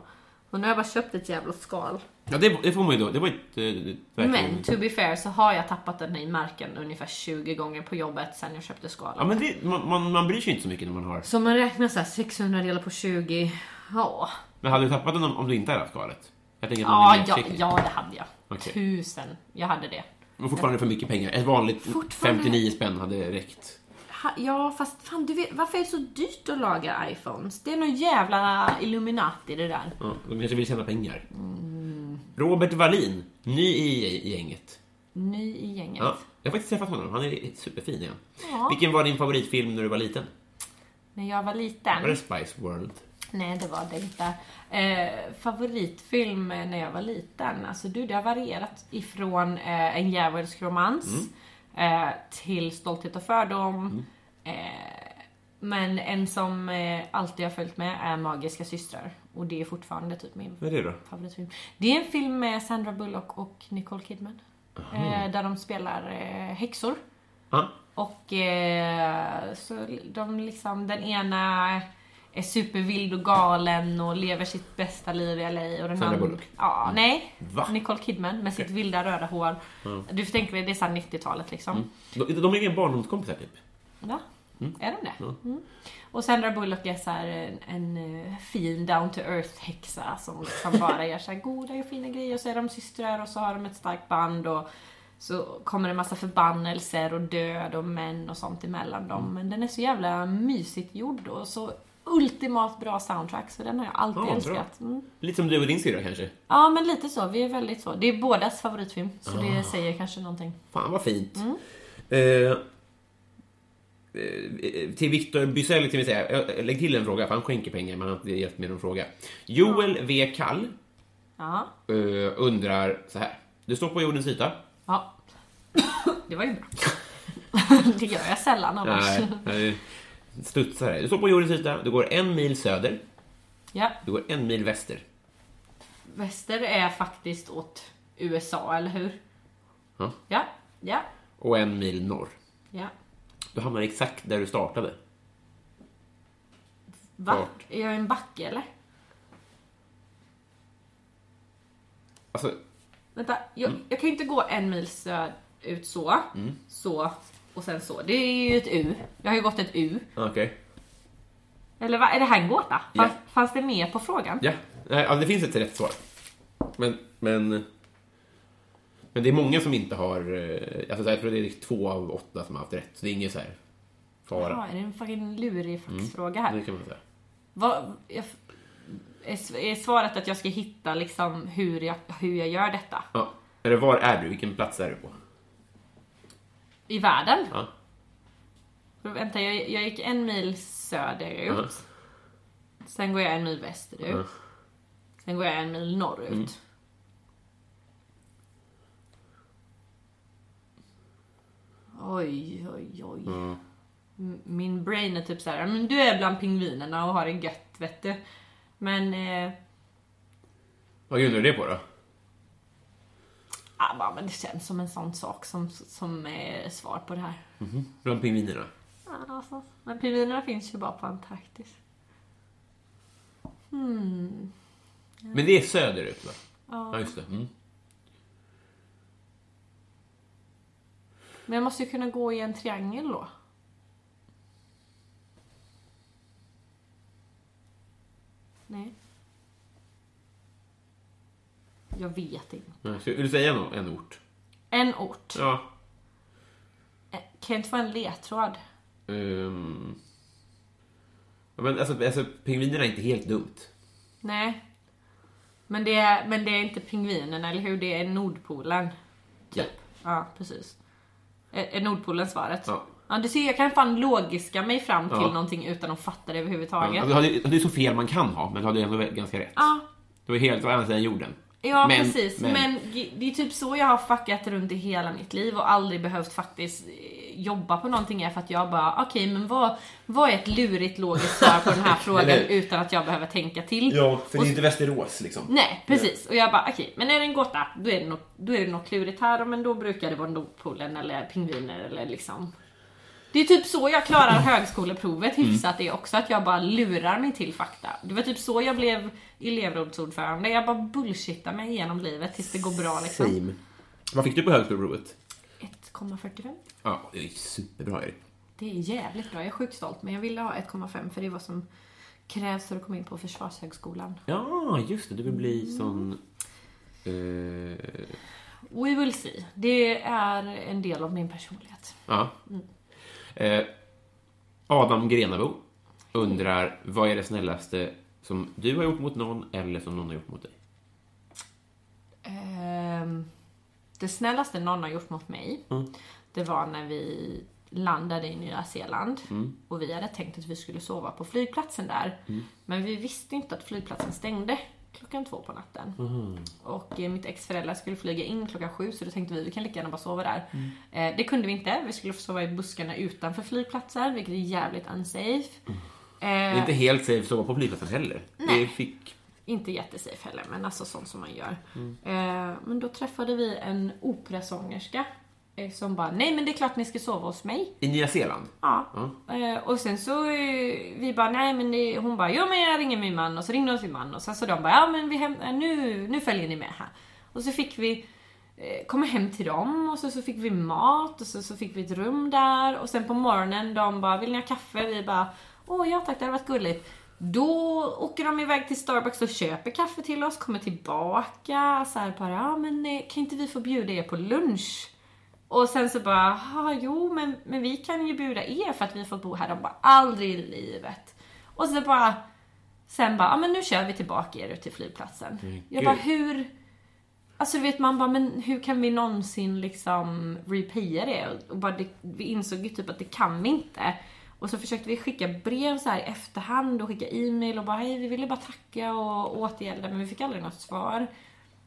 Speaker 2: Och nu har jag bara köpt ett jävla skal.
Speaker 1: Ja, det, det får man ju då. Det var ju ett... eh, ett
Speaker 2: Men
Speaker 1: verkligen-
Speaker 2: to be fair så har jag tappat den i marken ungefär 20 gånger på jobbet sen jag köpte skalet.
Speaker 1: Ja, men det, man, man, man bryr sig inte så mycket när man har...
Speaker 2: Så man räknar så här 600 delar på 20. Ja,
Speaker 1: Men hade du tappat den om, om du inte hade haft skalet? Jag tänker att man
Speaker 2: ja,
Speaker 1: blir mer
Speaker 2: ja,
Speaker 1: försiktig.
Speaker 2: ja det hade jag.
Speaker 1: Okej.
Speaker 2: Tusen, jag hade det.
Speaker 1: Men fortfarande för mycket pengar. Ett vanligt
Speaker 2: Fortfarande-
Speaker 1: 59 spänn hade räckt.
Speaker 2: Ha, ja fast fan du vet, varför är det så dyrt att laga iPhones? Det är någon jävla Illuminati det där.
Speaker 1: Ja, de kanske vill tjäna pengar. Robert Wallin, ny i, i gänget.
Speaker 2: Ny i gänget.
Speaker 1: Ja, jag har faktiskt träffat honom. Han är superfin igen.
Speaker 2: Ja.
Speaker 1: Vilken var din favoritfilm när du var liten?
Speaker 2: När jag var
Speaker 1: Var det
Speaker 2: liten?
Speaker 1: Spice World?
Speaker 2: Nej, det var det inte. Eh, favoritfilm när jag var liten? Alltså du, det har varierat ifrån eh, En djävulsk romans eh, till Stolthet och fördom. Eh, men en som eh, alltid har följt med är Magiska systrar. Och det är fortfarande typ min
Speaker 1: Vad är det då?
Speaker 2: favoritfilm. Det är en film med Sandra Bullock och Nicole Kidman. Eh, där de spelar eh, häxor.
Speaker 1: Ja.
Speaker 2: Och eh, så de liksom, den ena är supervild och galen och lever sitt bästa liv i LA och den
Speaker 1: Sandra
Speaker 2: andra...
Speaker 1: Bullock?
Speaker 2: Ja, nej.
Speaker 1: Va?
Speaker 2: Nicole Kidman med sitt vilda röda hår. Du får tänka dig, det är såhär 90-talet liksom.
Speaker 1: De, de är inga barndomskompisar typ.
Speaker 2: Va? Är de det? Mm. Och Sandra Bullock är så här en, en eh, fin down to earth häxa som liksom bara gör så här goda och fina grejer och så är de systrar och så har de ett starkt band och så kommer det en massa förbannelser och död och män och sånt emellan
Speaker 1: Mm.
Speaker 2: dem. Men den är så jävla mysigt gjord och så ultimat bra soundtrack så den har jag alltid
Speaker 1: Ja, bra.
Speaker 2: älskat. Mm.
Speaker 1: Lite som du och din syrra kanske.
Speaker 2: Ja men lite så, vi är väldigt så. Det är bådas favoritfilm så
Speaker 1: Ah.
Speaker 2: det säger kanske någonting.
Speaker 1: Fan vad fint.
Speaker 2: Mm.
Speaker 1: Eh, eh, till Viktor Bysell kan vi säga, jag- lägg till en fråga för han skänker pengar men han har inte hjälpt med någon fråga. Joel V. Kall
Speaker 2: Ja.
Speaker 1: eh, undrar så här. Du står på jordens yta.
Speaker 2: Ja. Det var ju bra. Det gör jag sällan annars.
Speaker 1: Nej, nej. Studsar här. Du står på jordens yta, du går en mil söder,
Speaker 2: Ja,
Speaker 1: du går en mil väster.
Speaker 2: väster är faktiskt åt USA, eller hur?
Speaker 1: Ja.
Speaker 2: Ja, ja,
Speaker 1: Och en mil norr.
Speaker 2: ja.
Speaker 1: Du hamnar exakt där du startade.
Speaker 2: Va?
Speaker 1: Vart?
Speaker 2: Är jag i en backe eller?
Speaker 1: Alltså,
Speaker 2: Vänta, jag, jag kan ju inte gå en mil söd ut så, så och sen så. Det är ju ett U. Jag har ju gått ett U.
Speaker 1: Ah, okej.
Speaker 2: Eller vad? Är det här en gåta?
Speaker 1: Ja.
Speaker 2: Fanns, fanns det med på frågan?
Speaker 1: Ja. Nej, ja, det finns ett rätt svar. Men, men... Men det är många som inte har... eh, Alltså, så här, jag tror det är två av åtta som har haft rätt. Så det är ingen så här fara.
Speaker 2: Ja, är det Mm. en fucking lurig faxfråga här?
Speaker 1: Det kan man säga.
Speaker 2: Vad, jag, är s- är svaret att jag ska hitta liksom hur jag, hur jag gör detta?
Speaker 1: Ja. Eller var är du? Vilken plats är du på?
Speaker 2: I världen?
Speaker 1: Ja.
Speaker 2: Vänta, jag, jag gick en mil söderut. Sen går jag en mil västerut.
Speaker 1: Mm.
Speaker 2: Sen går jag en mil norrut. Oj, oj, oj. M- Min brain är typ så här, men du är bland pingvinerna och har det gött vet du. Men, eh,
Speaker 1: Vad grundar du det på då?
Speaker 2: ah, bara, men det känns som en sån sak som, som är svar på det här.
Speaker 1: Bland pingvinerna?
Speaker 2: Ja, alltså. Men pingvinerna finns ju bara på Antarktis.
Speaker 1: Men det är söderut va? Ja. just det. Mm.
Speaker 2: Men jag måste ju kunna gå i en triangel då. Nej. Jag vet inte.
Speaker 1: Ja, Ska vill du säga en, en ort?
Speaker 2: En ort.
Speaker 1: Ja.
Speaker 2: Eh, Kan jag inte få en ledtråd?
Speaker 1: Ehm. Ja, men alltså, alltså, pingvinerna är inte helt dumt.
Speaker 2: Nej. Men det, är, men det är inte pingvinen, eller hur? Det är Nordpolen.
Speaker 1: Ja.
Speaker 2: Typ. Ja, precis. Eh, Är, är Nordpolen svaret?
Speaker 1: Ja.
Speaker 2: du ser, jag kan fan logiska mig fram till
Speaker 1: Ja.
Speaker 2: någonting utan att fatta det
Speaker 1: Ja,
Speaker 2: överhuvudtaget.
Speaker 1: du Alltså, hade, du hade så fel man kan ha, men du hade ändå ganska rätt.
Speaker 2: Ja,
Speaker 1: Du var helt på andra sidan jorden.
Speaker 2: ja
Speaker 1: Men-
Speaker 2: precis.
Speaker 1: men-
Speaker 2: Men. g- det är typ så jag har fuckat runt i hela mitt liv och aldrig behövt faktiskt eh, jobba på någonting är för att jag bara, okej men vad, vad är ett lurigt logiskt svar på den här frågan
Speaker 1: Eller-
Speaker 2: utan att jag behöver tänka till?
Speaker 1: för det är inte Västerås liksom.
Speaker 2: Nej, precis. Och jag bara, okej, men är det en gåta, då är det, något, då är det något klurigt här, men då brukar det vara Nordpolen eller pingviner eller liksom. Det är typ så jag klarar högskoleprovet hyfsat det också, att jag bara lurar mig till fakta. Det var typ så jag blev elevrådsordförande, jag bara bullshittar mig igenom livet tills det går bra liksom.
Speaker 1: Same. Vad fick du på högskoleprovet?
Speaker 2: 1,45.
Speaker 1: Ja, det är superbra Erik.
Speaker 2: Det är jävligt bra, jag är sjukt stolt, men jag ville ha 1,5 för det är vad som krävs för att komma in på Försvarshögskolan.
Speaker 1: Ja, just det. Du vill bli sån... eh,
Speaker 2: We will see. Det är en del av min personlighet.
Speaker 1: Ja. Eh, Adam Grenabo undrar, vad är det snällaste som du har gjort mot någon eller som någon har gjort mot dig?
Speaker 2: Ehm, det snällaste någon har gjort mot mig, det var när vi landade i Nya Zeeland och vi hade tänkt att vi skulle sova på flygplatsen där. Men vi visste inte att flygplatsen stängde klockan två på natten. Och eh, mitt ex föräldrar skulle flyga in klockan sju så då tänkte vi vi kan lika gärna bara sova där. Eh, det kunde vi inte. Vi skulle få sova i buskarna utanför flygplatsen vilket är jävligt unsafe.
Speaker 1: Det
Speaker 2: Eh,
Speaker 1: är inte helt safe att sova på flygplatsen heller. Det fick...
Speaker 2: inte jättesafe heller, men alltså sånt som man gör. Eh, men då träffade vi en operasångerska eh, som bara, nej men det är klart ni ska sova hos mig.
Speaker 1: I Nya Zeeland?
Speaker 2: Ja. Eh, och sen så, eh, vi bara, nej men det, hon bara, ja men jag ringer min man och så ringde hon sin man och sen så de bara, ja men vi hem, eh, nu, nu följer ni med här. Och så fick vi eh, komma hem till dem och så, så fick vi mat och så, så fick vi ett rum där och sen på morgonen de bara, vill ni ha kaffe? Vi bara, åh ja tack det hade varit gulligt. Då åker de iväg till Starbucks och köper kaffe till oss, kommer tillbaka så här bara, ja men eh, kan inte vi få bjuda er på lunch? Och sen så bara, "Aha, jo men, men vi kan ju bjuda er för att vi får bo här. De bara, aldrig i livet. Och så bara, sen bara, ja men nu kör vi tillbaka er ut till flygplatsen. jag bara, hur? Alltså du vet man bara, men hur kan vi någonsin liksom repaya det? Och- Och bara, det, vi insåg ju typ att det kan vi inte. Och så försökte vi skicka brev så här i efterhand och skicka e-mail och bara, hej vi ville bara tacka och återgälda men vi fick aldrig något svar.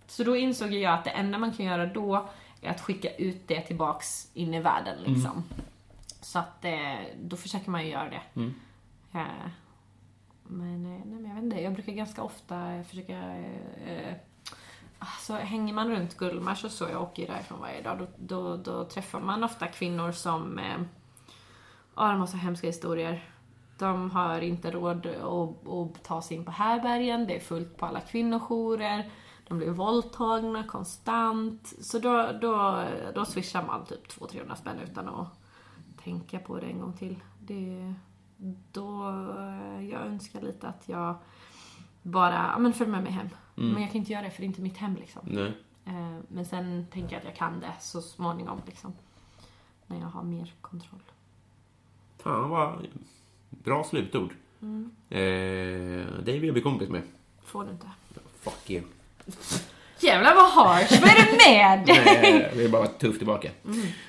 Speaker 2: Så då insåg jag att det enda man kan göra då är att skicka ut det tillbaks in i världen liksom. Så att eh, då försöker man ju göra det. Eh, men, eh, nej, men jag vet inte, jag brukar ganska ofta eh, försöka... Eh, eh, alltså, hänger man runt Gullmars och så, jag åker ju därifrån varje dag, då, då, då träffar man ofta kvinnor som... Eh, ja, de har så hemska historier. De har inte råd att, att ta sig in på härbergen, det är fullt på alla kvinnojourer, de blir våldtagna konstant. Så då, då, då swishar man typ 200-300 spänn utan att tänka på det en gång till. Det, då, eh, jag önskar lite att jag bara, ja men följ med mig hem. Men jag kan inte göra det för det är inte mitt hem liksom.
Speaker 1: Nej.
Speaker 2: Eh, Men sen tänker jag att jag kan det så småningom liksom. När jag har mer kontroll.
Speaker 1: Fan, vad bra slutord. Mm. Eh, dig vill jag bli kompis med.
Speaker 2: Får du inte.
Speaker 1: Fuck you.
Speaker 2: Jävlar vad harsh, vad är det med dig?
Speaker 1: Nej, det är bara tufft tillbaka.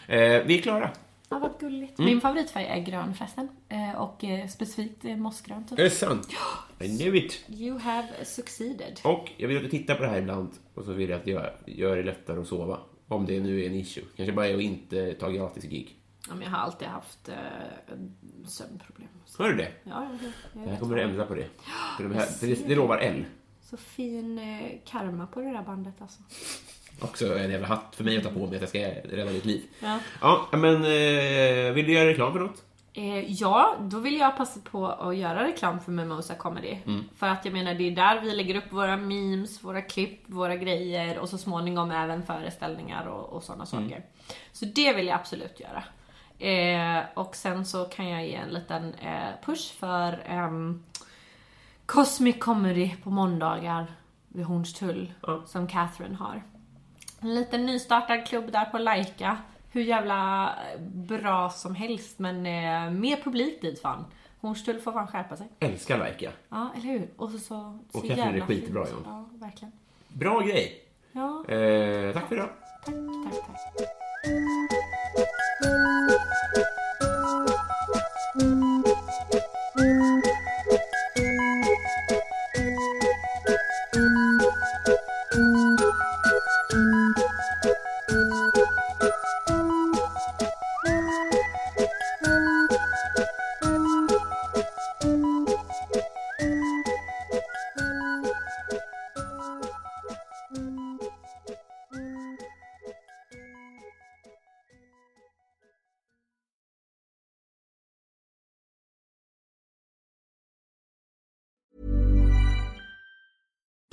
Speaker 1: Eh, vi är klara.
Speaker 2: Ja, vad gulligt.
Speaker 1: Mm.
Speaker 2: Min favoritfärg är grön förresten. Eh, Och eh, specifikt eh, mossgrön
Speaker 1: Är
Speaker 2: typ.
Speaker 1: det sant? I knew it!
Speaker 2: You have succeeded.
Speaker 1: Och jag vill att du tittar på det här ibland och så vill jag att du gör, gör det lättare att sova. Om det nu är en issue. Kanske bara är att inte ta gratis gig.
Speaker 2: Ja, men jag har alltid haft eh, sömnproblem. Så,
Speaker 1: Hör du det?
Speaker 2: ja, jag, jag,
Speaker 1: Det här
Speaker 2: jag
Speaker 1: Mm. kommer du ändra på det. För de här, för det, det lovar L.
Speaker 2: så fin eh, karma på det där bandet alltså.
Speaker 1: Också en jävla hatt för mig att ta på mig att jag ska rädda ditt liv.
Speaker 2: Ja.
Speaker 1: Ja, men eh, vill du göra reklam för något?
Speaker 2: Eh, ja, då vill jag passa på att göra reklam för Mimosa Comedy. För att jag menar, det är där vi lägger upp våra memes, våra klipp, våra grejer och så småningom även föreställningar och, och sådana saker. Så det vill jag absolut göra. Eh, och sen så kan jag ge en liten eh, push för ehm, Cosmic Comedy på måndagar vid Hornstull som Catherine har. En liten nystartad klubb där på Laika. Hur jävla eh, bra som helst men eh, mer publik dit fan. Hornstull får fan skärpa sig.
Speaker 1: Älskar Like, ja.
Speaker 2: Ja, eller hur? Och så, så, så
Speaker 1: Och Catherine är skitbra,
Speaker 2: fint.
Speaker 1: ja.
Speaker 2: Ja, verkligen.
Speaker 1: Bra grej.
Speaker 2: Ja,
Speaker 1: Eh, tack för idag.
Speaker 2: tack, tack.